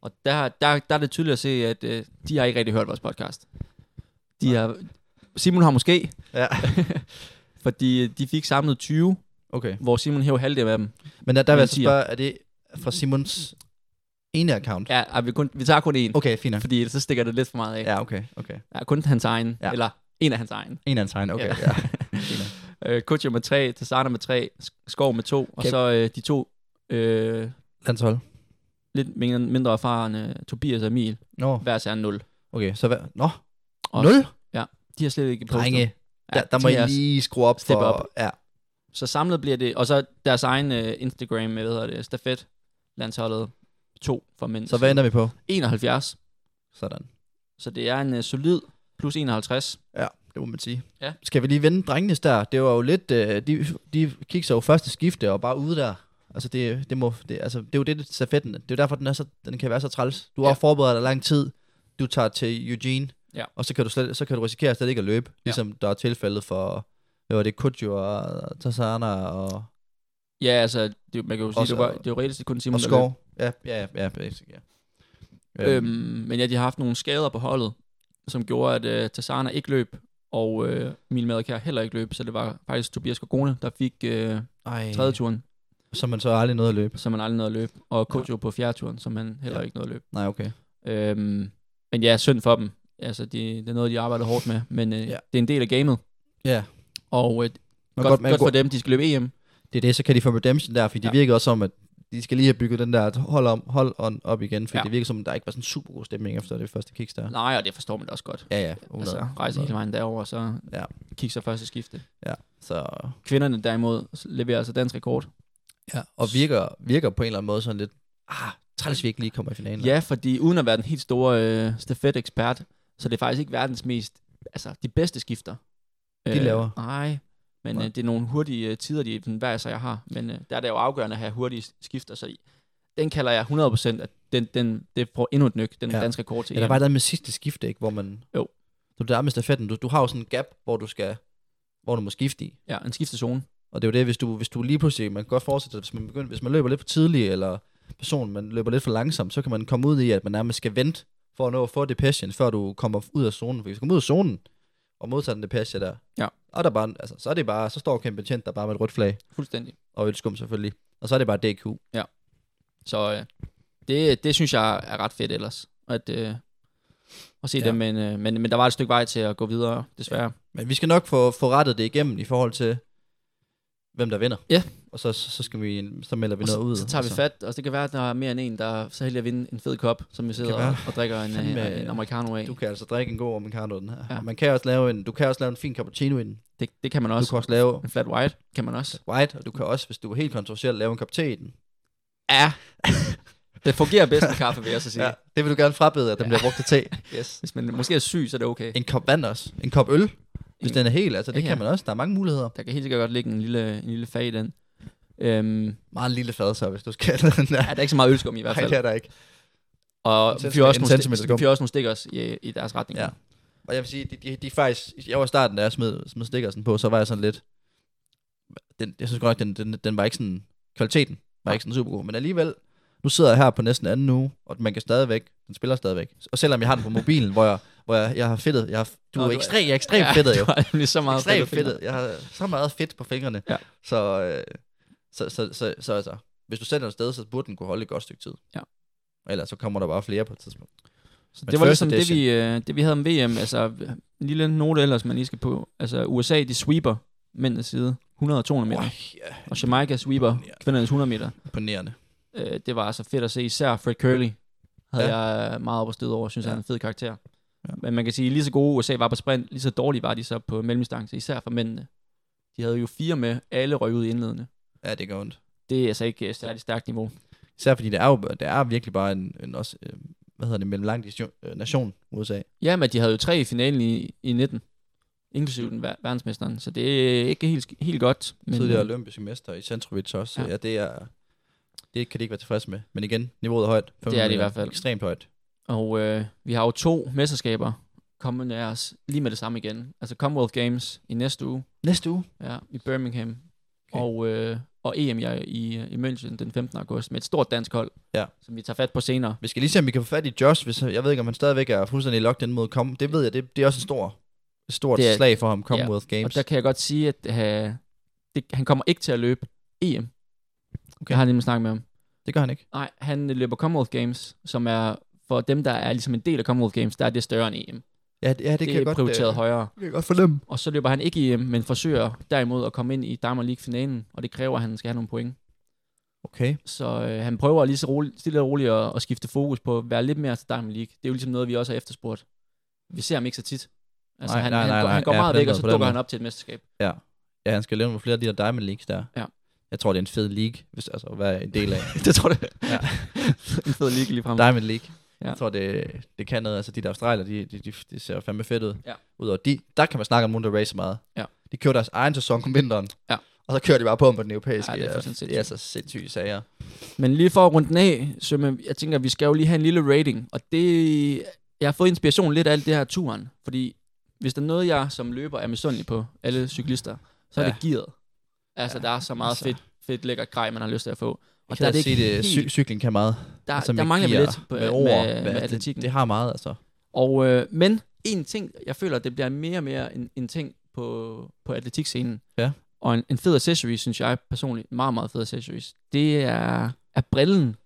Og der, der, der er det tydeligt at se, at øh, de har ikke rigtig hørt vores podcast. De har, Simon har måske,
ja.
fordi øh, de fik samlet 20,
Okay.
hvor Simon hæv halvdelen af dem.
Men der, der vil
Men
jeg så
tier.
spørge, er det fra Simons ene account?
Ja, ej, vi, kun, vi tager kun én, okay.
Okay, fint. nok.
fordi så stikker det lidt for meget af. Ja.
Ja, okay, okay.
Ja, kun hans egen, ja.
Ja.
eller en af hans egen.
En af hans egen, okay.
Ja.
Ja. ja.
Øh, Kutcher med tre, Tassana med tre, Sk- Skov med to, og
Kan-
så øh, de to øh,
Landshold.
lidt mindre, mindre erfarne, Tobias og Emil,
Nå,
hver sær 0.
okay, så hvad? Nå,
Og
nul?
De har slet ikke postet.
Drenge,
Ja,
der, der må
de
I
er-
lige skrue op
Step
for...
up.
Ja,
Så samlet bliver det, og så deres egen øh, Instagram, hvad hedder det, stafet, landsholdet, to for mænd.
så hvad ender vi på?
71,
Sådan.
så det er en øh, solid plus 51.
Ja, det må man sige.
Ja.
Skal vi lige vende drengenes der? Det var jo lidt... Øh, de, de kiggede sig jo første skifte og bare ude der. Altså, det, det, må, det, altså, det er jo det, det stafetten. Det er jo derfor, den, er så, den kan være så træls. Du har
Ja.
forberedt dig lang tid. Du tager til Eugene.
Ja.
Og så kan du, slet, så kan du risikere slet ikke at løbe. Ligesom der er tilfældet for... Hvad var det? Kutjo og Tassana og,
Ja, altså, det, man kan jo sige,
Også-
det var, det var reelt set kun Simon,
og
der løb.
Skov. Ja, ja, ja. ja, basic, ja.
Øhm, men ja, de har haft nogle skader på holdet, som gjorde, at øh, Tassana ikke løb, og øh, Emil Madekær heller ikke løb, så det var faktisk Tobias Gorgone, der fik øh,
Ej,
tredje turen,
som man så aldrig nåede at løbe.
som han aldrig nåede at løbe, og Kojo på fjerde turen, som han heller ikke nåede at løbe.
Nej, okay.
Øhm, men ja, synd for dem. Altså, de, det er noget, de arbejder hårdt med, men øh, ja.
Ja.
det er en del af gamet,
Ja.
og øh,
Men
godt,
men
godt for dem, de skal løbe E EM.
Det er det, så kan de få redemption der, fordi ja.
Ja.
det virker også som, at de skal lige have bygget den der hold, om, hold on op igen, fordi
Ja.
ja. det virker som, at der ikke var sådan super god stemning efter det første kickstart.
Nej, og det forstår man da også godt.
Ja, ja. 100.
Altså, rejse hele vejen derover, så ja.
Ja.
kigge sig første skifte.
Så,
Kvinderne derimod leverer altså dansk rekord.
ja. Og virker, virker på en eller anden måde sådan lidt, ah, træls vi ikke lige kommer i finalen.
Ja, fordi uden at være den helt store øh, stafet-ekspert, så er det faktisk ikke verdens mest, altså de bedste skifter.
de laver.
Nej, men øh, det er nogle hurtige øh, tider, de sådan, hver sig jeg har. Men øh, der er det jo afgørende at have hurtige s- skifter, så i- den kalder jeg 100%, at den, den, det får endnu et nyk, den
Ja.
ja. danske rekord til
Ja, der
EM.
var et eller andet med sidste skifte, ikke? Hvor man...
Jo.
Du der med stafetten. Du, du har jo sådan en gap, hvor du skal hvor du må skifte i.
Ja, en skiftezone.
Og det er jo det, hvis du, hvis du lige pludselig, man kan godt fortsætte, hvis man, begynder, hvis man løber lidt for tidligt, eller personen, man løber lidt for langsomt, så kan man komme ud i, at man nærmest skal vente for at nå at få depression, før du kommer ud af zonen. For hvis du kommer ud af zonen, og modtager den depression der,
Ja.
og der bare, altså, så er det bare, så står Ken Betjent der bare med et rødt flag,
Fuldstændig.
og et skum selvfølgelig, og så er det bare DQ.
Så øh, det, det synes jeg er ret fedt ellers, at, øh, at se
Ja.
ja. det. Men, øh, men, men der var et stykke vej til at gå videre, desværre.
Men vi skal nok få, få rettet det igennem i forhold til, hvem der vinder.
Ja.
Og så, så, så skal vi, så melder vi
Og
noget
så,
ud. Altså,
så tager vi fat, og det kan være, at der er mere end en, der er så heldig at vinde en fed kop, som vi sidder
være.
og, og drikker en,
Fandme,
øh, en americano af.
Du kan altså drikke en god americano den her.
Ja.
Ja. Man kan også lave en, du kan også lave en fin cappuccino i den.
Det, det kan man
Du
også.
kan også lave
En flat white kan man også.
white, og du kan også, hvis du er helt kontroversiel, lave en kop te i den.
Ja. det fungerer bedst med kaffe, vil jeg så sige.
Ja.
Ja.
Det vil du gerne frabede, at den bliver brugt til te. Yes.
Hvis man måske er syg, så er det okay.
En kop vand også. En kop øl, hvis
En-
den er helt. Altså, det
Ja,
ja,
ja.
kan man også. Der er mange muligheder.
Der kan helt sikkert godt ligge en lille, en lille fag i den. Øhm,
Meget lille fad så, hvis du skal. den der.
ja, der er ikke så meget ølskum i hvert
Nej,
fald.
det er der ikke.
og
en
vi fyrer også,
centimeter- en
nogle
centimeter
sti-
skum.
vi fyrer også nogle stikker også i, i deres retning.
Ja. Og jeg vil sige, de, de, de er faktisk... Jeg var i starten, da jeg smed, smed stikkersen på, så var jeg sådan lidt... Den, jeg synes godt nok, den, den, den var ikke sådan... Kvaliteten var ikke sådan super god. Men alligevel, nu sidder jeg her på næsten anden uge, og man kan stadigvæk... Den spiller stadigvæk. Og selvom jeg har den på mobilen, hvor jeg, hvor jeg, jeg har fedtet... Jeg har, du
Nå,
er
du er-
ekstremt, jeg er ekstremt ja, fedtet jo.
Det var nemlig så meget
ekstremt
fedtet.
fedtet. Jeg har så meget fedt på fingrene.
Ja.
Så, øh, så, så, så, så, altså, hvis du sender den afsted, så burde den kunne holde et godt stykke tid.
Ja.
Ellers så kommer der bare flere på et tidspunkt.
Så
Men
det var
first
ligesom det
edition.
vi, øh, det, vi havde om VM. Altså, en lille note ellers, man lige skal på. Altså, USA, de sweeper mændenes side. 100 og 200 meter.
Øj, ja,
Og Jamaica sweeper kvindernes 100 meter.
imponerende.
Øh, det var altså fedt at se. Især Fred Curley havde
Ja.
ja. jeg meget op og støde over. Synes, ja.
Ja.
han er en fed karakter.
Ja.
Ja. Men man kan sige, lige så gode USA var på sprint, lige så dårlige var de så på mellemdistance. Især for mændene. De havde jo fire med. Alle røg ud i indledende.
Ja, det gør ondt.
Det er altså ikke et særligt stærkt niveau.
Især fordi det er jo det er virkelig bare en, en også, øh, hvad hedder det, mellem lang øh, nation, USA.
Ja, men de havde jo tre i finalen i, i 19, inklusive den ver- verdensmesteren, så det er ikke helt, sk- helt godt. Men, øh,
Tidligere olympiske mester i Centrovic også. Så ja.
Ja.
ja, det er... Det kan de ikke være tilfredse med. Men igen, niveauet er højt. 500
det i
meter.
hvert fald.
Ekstremt højt.
Og øh, vi har jo to mesterskaber kommende af os lige med det samme igen. Altså Commonwealth Games i næste uge
Næste uge.
ja, i Birmingham,
Okay.
okay. og, øh, og EM jeg, i, i München den 15. august med et stort dansk hold,
Ja.
som vi tager fat på senere.
Vi skal lige se, om vi kan få fat i Josh. Hvis, jeg ved ikke, om han stadigvæk er fuldstændig locked ind mod kom. Det ved jeg, det, det er også en stor, et stort
Det
er,
er-
slag for ham, Commonwealth ja. Games.
Og der kan jeg godt sige, at øh, det, han kommer ikke til at løbe EM.
Okay.
Jeg har nemlig snakket med ham.
Det gør han ikke.
Nej, han øh, løber Commonwealth Games, som er for dem, der er ligesom en del af Commonwealth Games, der er det større end EM. Det,
Ja, det, ja, det,
det
kan
er
jeg godt,
prioriteret
øh,
højere.
Det kan jeg godt fornemme.
Og så løber han ikke EM, men forsøger derimod at komme ind i Diamond League-finalen, og det kræver, at han skal have nogle point.
Okay.
Så øh, han prøver lige så roligt, stille og roligt at, at skifte fokus på at være lidt mere til Diamond League. Det er jo ligesom noget, vi også har efterspurgt. Vi ser ham ikke så tit. Altså,
Nej,
han,
nej,
han,
nej,
går-
nej.
han går
Ja,
meget
på den
væk,
måde,
og så
på den
dukker
måde.
han op til et mesterskab.
Ja, han skal lave nogle flere af de der Diamond Leagues der.
Ja.
Jeg tror, det er en fed league, hvis, altså, at være en del af.
det tror jeg.
Ja.
Ja. en fed league lige frem.
Diamond League. Ja.
Ja.
Jeg tror, det, det kan noget. Altså, de der australier, de, de, de, de ser fandme fedt ud.
Ja.
Udover de, der kan man snakke om nogen, der racer meget.
Ja.
De kører deres egen sæson om vinteren.
Ja.
Og så kører de bare på dem på den europæiske.
Ja, det er fuldstændig
det er så sindssyge sager.
Men lige for at runde den af, så jeg tænker, at vi skal jo lige have en lille rating. Og det, jeg har fået inspiration lidt af alt det her turen. Fordi hvis der er noget, jeg som løber er misundelig på alle cyklister, så er
Ja.
det gearet. Altså,
Ja,
ja, der er så meget
altså.
altså. fedt, fedt lækker grej, man har lyst til at få. Og
Og der er det sige, det, cy-
helt,
cykling kan meget.
der, altså, der mangler vi
gear,
lidt på, med,
ord,
med,
hvad-
med atletikken.
Det, det, har meget, altså.
Og, øh, men en ting, jeg føler, det bliver mere og mere en, en ting på, på atletikscenen.
Ja.
Og en, en fed accessory, synes jeg personligt, meget, meget fed accessories, det er, er brillen.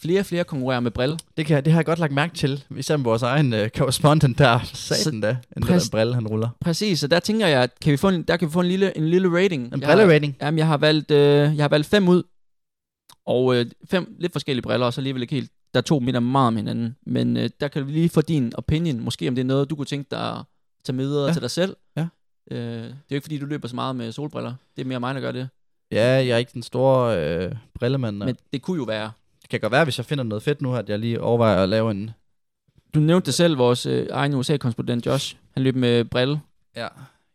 Flere og flere konkurrerer med brille.
Det, kan, det har jeg godt lagt mærke til. Især med vores egen uh, correspondent der. Satan da. En
Præst-
Præst. brille, han ruller.
Præcis, og der tænker jeg, at kan vi få en, der kan vi få en lille, en lille rating.
En
Jeg-
brillerating.
Jamen, jeg har valgt, øh, jeg har valgt fem ud, og øh, fem lidt forskellige briller, og så alligevel ikke helt, der er to minder meget om hinanden. Men øh, der kan vi lige få din opinion, måske om det er noget, du kunne tænke dig at tage med videre
Ja.
ja. til dig selv.
Ja.
Øh, det er jo ikke, fordi du løber så meget med solbriller. Det er mere mig, der gør det.
Ja, jeg er ikke den store øh, brillemand.
Nej.
Men...
Men det kunne jo være.
Det kan godt være, hvis jeg finder noget fedt nu, at jeg lige overvejer at lave en...
Du nævnte det selv, vores øh, egen USA-korrespondent Josh, han løb med brille.
Ja.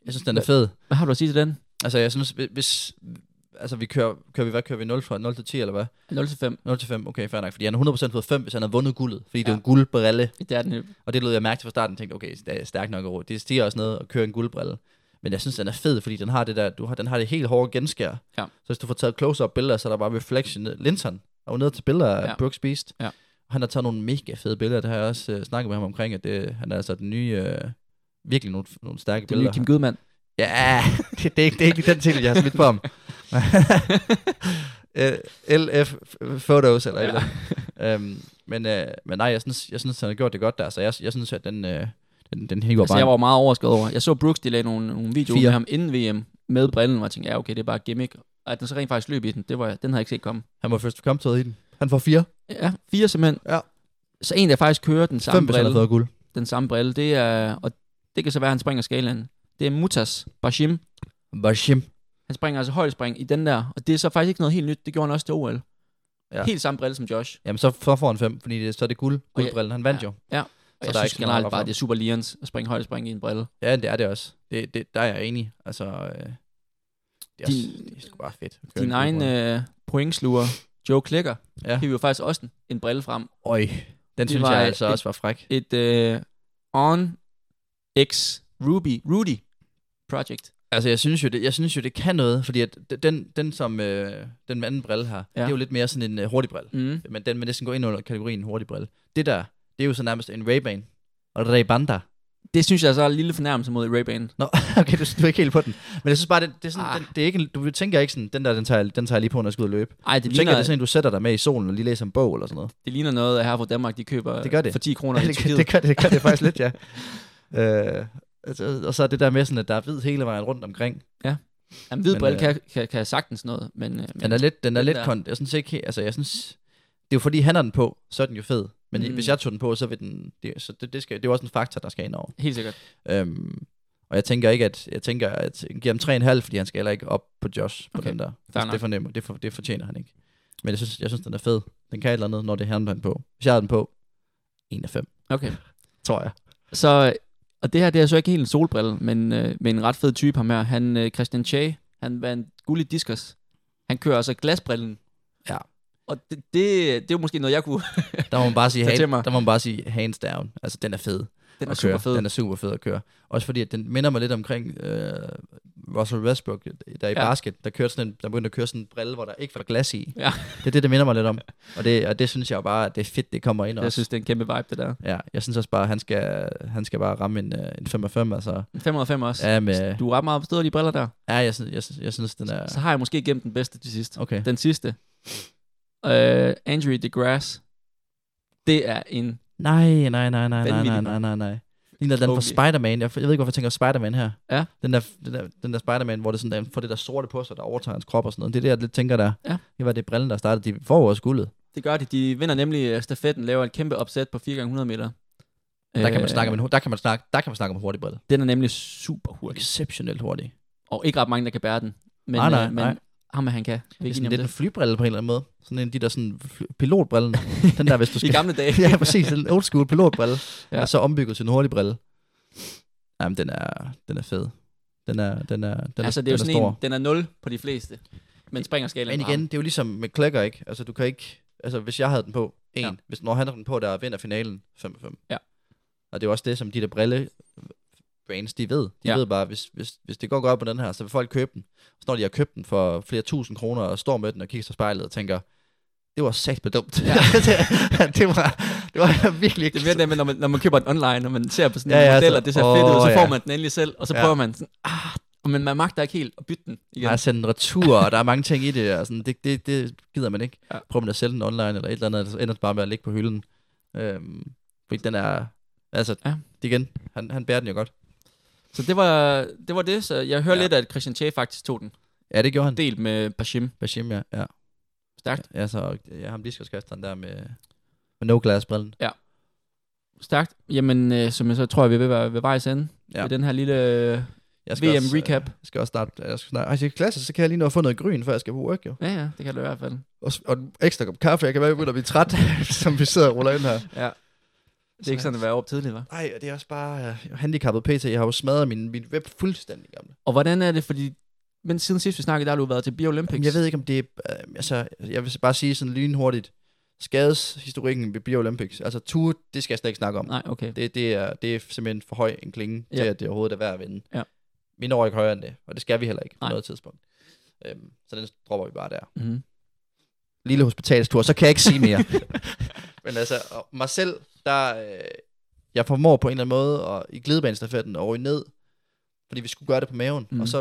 Jeg synes, den er fed.
Hvad har du at sige til den?
Altså, jeg synes, hvis- hvis... Altså, vi kører, kører vi, hvad kører vi? 0 fra 0 til 10, eller hvad?
0-5.
0 til 5, okay, fair nok. Fordi han har 100% fået 5, hvis han havde vundet guldet. Fordi ja. det er en guldbrille.
Det er den øh, jo.
Og det lød jeg mærke til fra starten. Jeg tænkte, okay, det er stærkt nok over. Det stiger også noget at køre en guldbrille. Men jeg synes, den er fed, fordi den har det der, du har, den har det helt hårde genskær.
Ja.
Så hvis du får taget close-up billeder, så er der bare reflection. ned. Linton er jo nede til billeder af
Ja.
ja. Brooks Beast.
Ja.
Han har taget nogle mega fede billeder. Det har jeg også øh, snakket med ham omkring, at det, han er altså den nye, øh, virkelig nogle, nogle stærke
Den nye
billeder.
Kim Gudmand.
Ja, det, det, er ikke, det er ikke den titel, jeg har smidt på ham. Øh, LF Photos eller ja. eller øhm, men, øh, men nej, jeg synes, jeg synes, han har gjort det godt der, så jeg, jeg synes, at den, øh, den, den hiver
Altså,
bare
jeg var meget overrasket over. Jeg så Brooks, de lagde nogle, nogle videoer
Fire.
med ham inden VM med brillen, og jeg tænkte, ja, okay, det er bare gimmick. Og at den så rent faktisk løb i den, det var, den havde jeg ikke set komme.
Han må først komme til i den. Han får fire.
Ja, fire simpelthen.
Ja.
Så en, der faktisk kører den samme
Fem, hvis han har
brille,
fået guld.
den samme brille, det er, og det kan så være, at han springer skalaen. Det er Mutas Bashim.
Bashim.
Han springer altså højdespring i den der, og det er så faktisk ikke noget helt nyt. Det gjorde han også til OL. Ja.
Ja.
Helt samme brille som Josh.
Jamen, så, så får han fem, fordi det, så er det guld.
ja.
Guldbrillen, han vandt jo.
Ja, og
der
jeg
er
synes
ikke så meget at
generelt
hoppe
bare,
om.
det er super lians at springe højdespring i en brille.
Ja, det er det også. Det, det, der er jeg enig. Altså, øh, det, er også,
Din-
det er sgu bare fedt. at køre
Din
en guldbrille.
egen øh, pointsluger, Joe Klicker, ja.
Ja.
hiver jo faktisk også en, en brille frem.
Øj, den
det
synes
var
jeg altså
et-
også var fræk.
Et øh, On X Ruby, Rudy Project.
Altså, jeg synes jo, det, jeg synes jo, det kan noget, fordi at d- den, den som øh, den anden brille har, ja. det er jo lidt mere sådan en øh, hurtig brille.
Mm.
Men den vil næsten gå ind under kategorien hurtig brille. Det der, det er jo så nærmest en Ray-Ban. Og Ray-Ban der.
Det synes jeg så er en lille fornærmelse mod Ray-Ban.
Nå, okay, du, du er ikke helt på den. Men jeg synes bare, det, det er sådan,
Ah.
ah. den, det er ikke, en- du tænker ikke sådan, den der, den tager, jeg- den tager jeg lige på, når jeg skal ud og løbe.
Ej, det
Du tænker, det
ligner,
er sådan en, du sætter dig med i solen og lige læser en bog eller sådan noget.
det ligner noget af her fra Danmark, de køber
Det gør det.
for 10 kroner i
det, gør-
Tyrkiet.
det, gør, det gør det faktisk lidt, ja. Øh, altså, og så er det der med sådan, at der er hvid hele vejen rundt omkring.
Jamen, hvid
Men,
brille
øh,
kan, kan, kan sagtens noget, men, øh, men
Den er lidt, den er
den
lidt
der-
kon... Jeg synes ikke helt, altså jeg synes, det er jo fordi, han har den på, så er den jo fed. Men
Mm.
mm. hvis jeg tog den på, så vil den, det, så det, det, skal, det er jo også en faktor, der skal ind over.
helt sikkert.
Øhm, og jeg tænker ikke, at jeg tænker, at jeg giver ham 3,5, fordi han skal heller ikke op på Josh på
Okay,
okay. den der. Altså,
fair
Det,
nok.
det, fornemmer, det, for, det fortjener han ikke. Men jeg synes, jeg synes, den er fed. Den kan et eller andet, når det er ham, der er den på. Hvis jeg har den på, 1 af 5,
Okay.
tror jeg.
Så, og det her, det er så ikke helt en solbrille, men, øh, men en ret fed type ham her. Han, øh, Christian Che, han vandt guld i diskus. Han kører altså glasbrillen.
Ja.
Og det, det, det er jo måske noget, jeg kunne...
Der må man bare sige,
Tag til
hand,
mig.
der må man bare sige hands down. Altså, den er fed.
Den er
at
super
køre.
fed.
Den er super fed at køre. Også fordi, at den minder mig lidt omkring øh, Russell Westbrook, der i
Ja.
ja. basket, der, kørte sådan en, der begyndte at køre sådan en brille, hvor der ikke var glas i.
Ja.
Det er det, det minder mig lidt om. Og det, og det synes jeg jo bare, at det er fedt, det kommer ind
Jeg
også.
synes, det er en kæmpe vibe, det der.
Ja, jeg synes også bare, at han skal, han skal bare ramme en, øh, en 5 af 5, altså.
En 505 også.
Ja, med,
Du er ret meget bestået af de briller der.
ja jeg, synes, jeg, synes, jeg synes, den er...
Så har jeg måske gemt den bedste til sidst.
Okay.
Den sidste. Øh, Andrew DeGrasse. Det er en...
Nej, nej, nej, nej, nej, nej,
Vanvittig,
nej, nej, nej. Ligner den
Okay.
fra Spider-Man. Jeg, jeg ved ikke, hvorfor jeg tænker Spider-Man her.
Ja.
Den der, den der, den der Spider-Man, hvor det sådan, der, får det der sorte på sig, der overtager hans krop og sådan noget. Det er det, jeg lidt tænker der.
Ja.
Det var det brillen, der startede. De får jo også guldet.
Det gør de. De vinder nemlig øh, stafetten, laver et kæmpe opsæt på 4x100 meter.
Der
Øh.
kan man snakke om en, hu- der kan man snakke, der kan man snakke om hurtig brille.
Den er nemlig super hurtig.
Exceptionelt hurtig.
Og ikke ret mange, der kan bære den. Men, øh,
Nej, nej,
men
nej.
ham er han kan. Vi
Det
er
er
ikke
sådan
enige
lidt
om
en
det.
flybrille på en eller anden måde. Sådan en af de der sådan fly- pilotbrillen. den der, hvis du skal...
I gamle dage.
ja, præcis. En old school pilotbrille.
Ja.
ja. Og så ombygget til en hurtig brille. Jamen, den er, den er fed. Den er, den er, den
altså,
er,
det er jo
den
sådan
er stor.
en, den er 0 på de fleste. Men springer skalaen
Men
fra
igen,
ham.
det er jo ligesom med Klecker, ikke? Altså, du kan ikke... Altså, hvis jeg havde den på, en.
Ja.
Ja. Hvis, når han har den på, der vinder finalen 5-5.
Ja.
Og det er jo også det, som de der brille brands, de ved. De
Ja.
ja. ved bare, hvis, hvis, hvis det går godt på den her, så vil folk købe den. Så når de har købt den for flere tusind kroner, og står med den og kigger sig i spejlet og tænker, det var sagt dumt. Ja. det, det, var, det var virkelig ikke
Det er mere det, med, når man, når man køber den online, når man ser på sådan
Ja,
en
ja,
model,
så-
og det ser fedt ud,
Åh,
så får
ja.
man den endelig selv, og så
Ja.
prøver man sådan, ah, men man magter ikke helt at bytte den igen.
Jeg har sendt en retur, og der er mange ting i det, og sådan, det, det, det gider man ikke.
Ja.
Ja. Prøv man at sælge den online, eller et eller andet, og så ender det bare med at ligge på hylden. Øhm, fordi den er, altså,
Ja.
ja. igen, han, han bærer den jo godt.
Så det var, det var det, så jeg hører ja.
Ja.
lidt, at Christian Che faktisk tog den.
Ja, det gjorde han. Det.
Delt med Bashim.
Bashim, ja. ja.
Stærkt.
Ja, så ja, ham diskoskasteren der med, med no glass brillen.
Stærkt. Jamen, øh, som jeg så tror, jeg, vi er ved, at være ved vejs ende ja.
Ja.
med den her lille øh,
Jeg skal også, øh,
VM-recap.
Jeg skal også snart, jeg skal snart, altså, klasse, så kan jeg lige nå at få noget gryn, før jeg skal på work, jo.
Ja, ja, det kan du i hvert fald.
Og, og en ekstra kop kaffe, jeg kan være, at jeg begynder at blive træt, som vi sidder og ruller ind her.
Ja. Det er ikke sådan at være op tidligt, hva'?
Nej, og det er også bare uh, handicappet pt. Jeg har jo smadret min, min web fuldstændig gamle.
Og hvordan er det, fordi... Men siden sidst vi snakkede, der har du været til Biolympics.
Jamen, jeg ved ikke, om det er... Uh, altså, jeg vil bare sige sådan lynhurtigt. Skadeshistorikken ved Biolympics. Altså, tur, det skal jeg slet ikke snakke om.
Nej, okay.
Det, det, er, det er simpelthen for høj en klinge ja. til,
Ja.
at det overhovedet er værd at vinde.
Ja.
Vi når ikke højere end det, og det skal vi heller ikke på
Nej.
noget tidspunkt. Øhm, så den dropper vi bare der.
Mm-hmm.
lille hospitalstur, så kan jeg ikke sige mere. Men altså, og mig selv, der, øh, jeg formår på en eller anden måde at, i glidebanestafetten og ned, fordi vi skulle gøre det på maven. Mm.
Mhm.
Og så,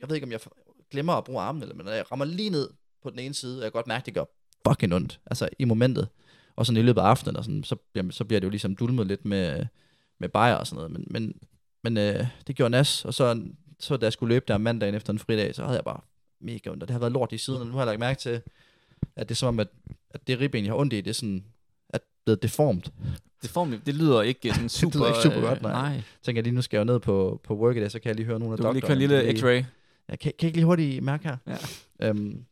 jeg ved ikke, om jeg f- glemmer at bruge armen, eller, men jeg rammer lige ned på den ene side, og jeg kan godt mærke, det gør fucking ondt, altså i momentet. Og sådan i løbet af aftenen, og sådan, så, bliver, så bliver det jo ligesom dulmet lidt med, med bajer og sådan noget. Men, men, men øh, det gjorde nas, og så, så da jeg skulle løbe der mandagen efter en fridag, så havde jeg bare mega ondt, og det har været lort i siden, og nu har jeg lagt mærke til, at det er som om, at, at det ribben, jeg har ondt i, det er sådan, at blevet deformt.
Det, får mig, det lyder ikke sådan super...
lyder ikke super
øh,
godt, nej.
nej.
tænker jeg lige, nu skal jeg jo ned på, på Workaday, så kan jeg lige høre nogle af
Du kan lige køre
doktorerne,
en lille
lige-
x-ray.
Jeg kan, kan jeg ikke lige hurtigt mærke her.
Ja.
Øhm,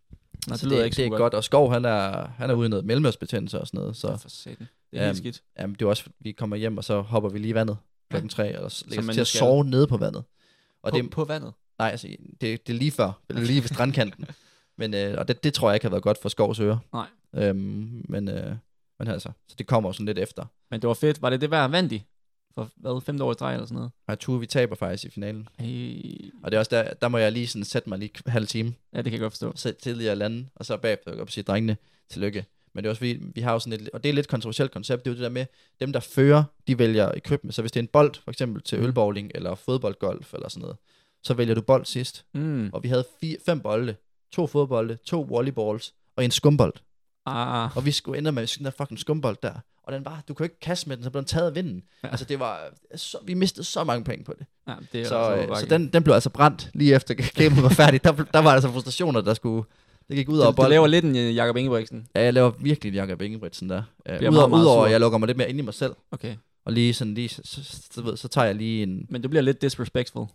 Nå,
så det, det, det er godt. Og Skov, han er, han er ude i noget mellemørsbetændelse og sådan noget.
Ja,
Så
for satan. Det er helt
Øhm,
skidt.
jamen, det er også, vi kommer hjem, og så hopper vi lige i vandet klokken tre, og så lægger
Som
os
man
til
nu
at
skal.
sove nede på vandet. Og
På,
det,
på vandet.
nej, altså, det, det er lige før, eller lige ved strandkanten. Men, øh, og det, det tror jeg ikke har været godt for Skovs øre.
Nej.
Øhm, men, øh, men altså, så det kommer jo sådan lidt efter.
Men det var fedt. Var det det værd, vandt de? For hvad, femte år i streg eller sådan noget?
Og Tue, vi taber faktisk i finalen.
Ej.
Og det er også der, der må jeg lige sådan sætte mig lige en halv time
Ja, det kan jeg godt forstå.
så tidligere lande, og så bagefter gå op og sige, drengene, tillykke. Men det er også, vi, vi har jo sådan et, og det er et lidt kontroversielt koncept, det er jo det der med, dem der fører, de vælger equipment. Så hvis det er en bold, for eksempel til
Mm.
ølbowling eller fodboldgolf eller sådan noget, så vælger du bold sidst.
Mm.
Og vi havde fi, fem bolde, to fodbolde, to volleyballs og en skumbold.
Ah,
Og vi skulle ende med sådan der fucking skumbold der. Og den var, du kunne ikke kaste med den, så blev den taget af vinden.
Ja.
Ja. Altså det var, så, vi mistede så mange penge på det.
ja, det er
Så,
altså
øh, så
overbakke.
den, den blev altså brændt lige efter gamet var færdigt. Der, der var altså frustrationer, der skulle... Det gik ud over
Du, du
bolden.
laver lidt en øh, Jakob Ingebrigtsen.
Ja, jeg laver virkelig en Jakob Ingebrigtsen der. Uh,
Bliver
udover, meget,
meget, meget
udover
sur.
at jeg lukker mig lidt mere ind i mig selv.
Okay.
Og lige sådan lige, så, så, så, ved- så tager jeg lige en...
Men du bliver lidt disrespectful.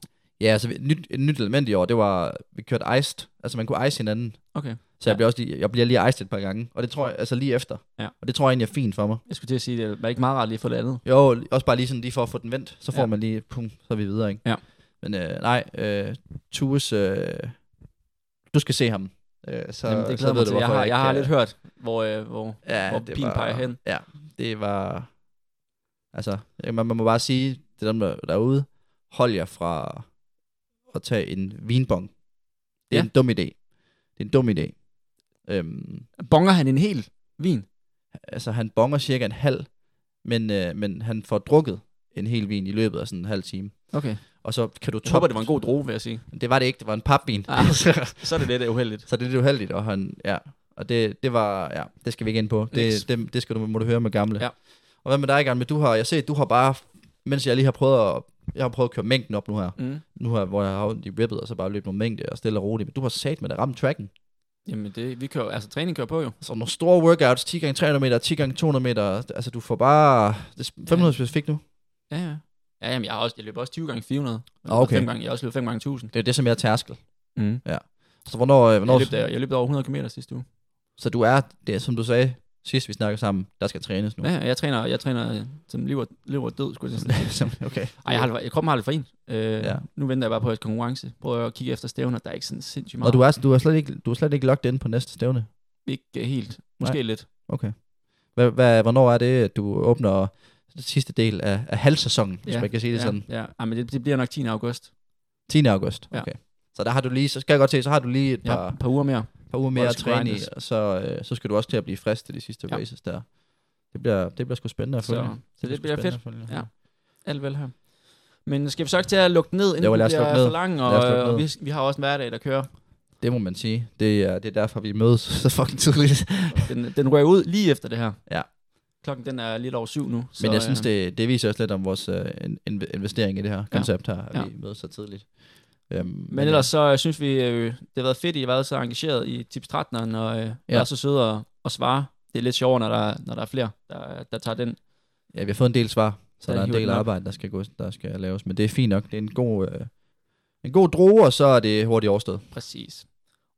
Ja, altså et nyt, et nyt element i år, det var, vi kørte iced. Altså man kunne ice hinanden.
Okay.
Så jeg,
Ja.
bliver også lige, jeg bliver lige iced et par gange. Og det tror jeg, altså lige efter.
Ja.
Og det tror jeg egentlig er fint for mig.
Jeg skulle til at sige, det var ikke meget rart lige at få det andet.
Jo, også bare lige sådan lige for at få den vendt. Så får
Ja.
man lige, pum, så er vi videre, ikke?
Ja.
Men øh, nej, øh, Tues, øh, du skal se ham. Øh, så,
Jamen, det
så
glæder mig
ved du,
til. Jeg
hvorfor
har, jeg har
ikke,
lidt hørt, hvor, øh, hvor
ja,
hvor pilen peger hen.
Ja, det var... Altså, ja, man, man må bare sige, det er dem der, derude, hold jer fra at tage en vinbong. Det er
Ja.
en dum idé. Det er en dum idé. Øhm,
bonger han en hel vin.
altså, han bonger cirka en halv, men, øh, men han får drukket en hel vin i løbet af sådan en halv time.
Okay.
Og så kan du
Jeg håber, det var en god droge, vil jeg sige.
Det var det ikke, det var en papvin.
Ah.
så
Så er det lidt uheldigt.
det er lidt uheldigt, og han, ja. Og det, det var, ja, det skal vi ikke ind på.
Niks.
Det, det, det skal du, må du høre med gamle.
Ja.
Og hvad med dig, gamle? Du har, jeg ser, du har bare, mens jeg lige har prøvet at, jeg har prøvet at køre mængden op nu her,
Mm.
nu her, hvor jeg har ondt i ribbet, og så bare løbet nogle mængde og stille og roligt, men du har sat med at ramme tracken.
Jamen, det, vi kører, altså træning kører på jo.
Så nogle store workouts, 10 gange 300 meter, 10 gange 200 meter, altså du får bare, det er 500 specifikt nu.
Ja, ja. Ja, jamen, jeg, har også, jeg løber også 20 gange 400. Jeg
Ah, okay.
løber fem gange, jeg har også løbet 5 gange 1000.
Det er jo det, som jeg er tærskel.
Mm.
Så hvornår, øh,
Jeg
hvornår
løb, der, jeg løb der over 100 km sidste uge.
så du er, det er, som du sagde, sidst vi snakkede sammen, der skal trænes nu.
Ja, ja, jeg træner, jeg træner øh, som lever, lever død, skulle jeg sige.
okay.
Ej, jeg har, lidt- jeg, kroppen har lidt for en. Øh,
Ja.
ja. Nu venter jeg bare på jeres konkurrence. Prøver at kigge efter stævner, der er ikke sådan sindssygt meget.
Og du er, du er, slet ikke, du er slet ikke logget ind på næste stævne?
Ikke øh, helt. Måske
Nej.
lidt.
Okay. Hvad, hvad, hvornår er det, at du åbner den sidste del af, af halvsæsonen, hvis man kan sige det
ja,
sådan?
Ja, Ej, men det, det, bliver nok 10. august.
10. august.
Ja.
Okay. Så der har du lige, så skal jeg godt se, så har du lige et
Ja,
par,
et par uger mere.
par uger mere
der
at
skal
træne i,
grindes.
og så, øh, så skal du også til at blive frisk til de sidste
Ja.
ja. races der. Det bliver, det bliver sgu spændende at
Så-
følge.
så det
sgu
bliver
spændende at følge.
Ja. Alt vel her. Men skal vi så ikke til at lukke den ned, inden
Jo,
den
lad os
bliver
lukke ned.
for lang, og,
Lad os lukke
og
ned.
vi, vi har også en hverdag, der kører.
Det må man sige. Det er, det er derfor, vi mødes så fucking tidligt.
Den, den rører ud lige efter det her.
Ja.
Klokken den er lidt over syv nu. øh,
Men jeg synes, det, det viser også lidt om vores øh, in- in- investering i det her koncept her, at
Ja.
vi mødes så tidligt. Øhm,
Men ellers så øh, synes vi, øh, det har været fedt, I har været så engageret i tips 13'eren, og øh, ja. er så søde at, at svare. Det er lidt sjovere, når der, er- når der er flere, der, der tager den.
Ja, vi har fået en del svar, så
Ja,
der er en
hiver
del
den op.
arbejde, der skal, gå, der skal laves. Men det er fint nok. Det er en god, øh, en god droge, og så er det hurtigt overstået.
Præcis.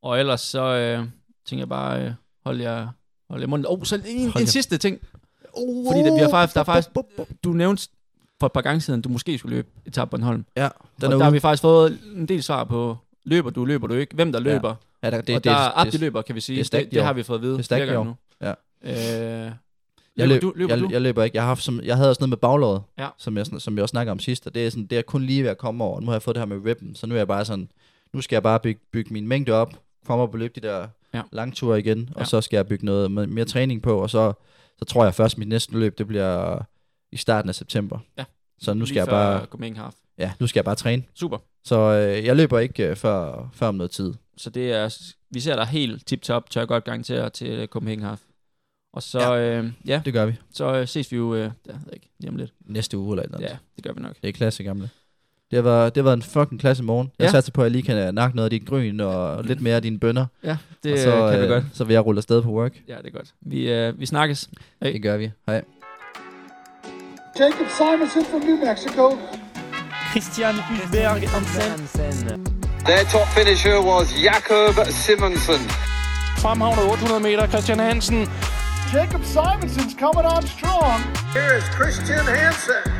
Og ellers så øh, tænker jeg bare, øh, hold jer, hold jer munden. Oh, så lige en,
Hold
en
jer-
sidste ting.
Uh,
Fordi der, vi har faktisk, der er faktisk,
bup, bup, bup.
du nævnte for et par gange siden, du måske skulle løbe etape Bornholm.
Ja,
Og
den
der
er
har
ude.
vi faktisk fået en del svar på, løber du, løber du ikke, hvem der løber. Ja.
Ja, der, det,
Det, og der er
det,
det, løber, kan vi sige.
det er
Det,
stærkt
det,
i
det
år.
har vi fået at vide
Det er stærkt
flere
i
gange
år.
nu.
Ja.
Øh,
jeg,
løber
løb,
du? Løber
jeg,
du?
jeg, løber ikke. Jeg, har haft som, jeg havde også noget med baglåret,
Ja.
ja. som, jeg, sådan- som jeg også snakkede om sidst, og det er, sådan, det er kun lige ved at komme over. Og nu har jeg fået det her med ribben, så nu er jeg bare sådan, nu skal jeg bare bygge, bygge min mængde op, komme op og løbe de der
Ja.
ja. langture igen, og
Ja.
så skal jeg bygge noget med, mere træning på, og så, så tror jeg først, at mit næste løb, det bliver i starten af september.
Ja.
Så nu skal,
lige
jeg
før
bare,
Copenhagen Half.
ja, nu skal jeg bare træne.
Super.
Så øh, jeg løber ikke øh, før, før om noget tid.
Så det er, vi ser dig helt tip-top, tør jeg godt garantere, til øh, Copenhagen Half. Og så, ja,
Ja.
øh, ja
Det gør vi
så øh, ses vi jo, øh, der, ved jeg ikke, lige om lidt.
næste uge eller et eller andet.
Ja, det gør vi nok.
Det er klasse, gamle. Det var, det var en fucking klasse morgen. Jeg
Ja.
ja. satte på, at jeg lige kan øh, nakke noget af din grøn og lidt mere af dine bønder.
Ja, det
og
øh,
så,
kan vi
øh,
godt.
Så vil jeg rulle afsted på work.
Ja, det er godt. Vi, øh, vi snakkes. Hey.
Det gør vi. Hej.
Jacob Simonson from New Mexico
Christian Hulberg Hansen
Their top finisher was Jakob Simonsen.
fremhavnet 800 meter, Christian Hansen
Jacob Simonson's coming on strong. Here is Christian Hansen.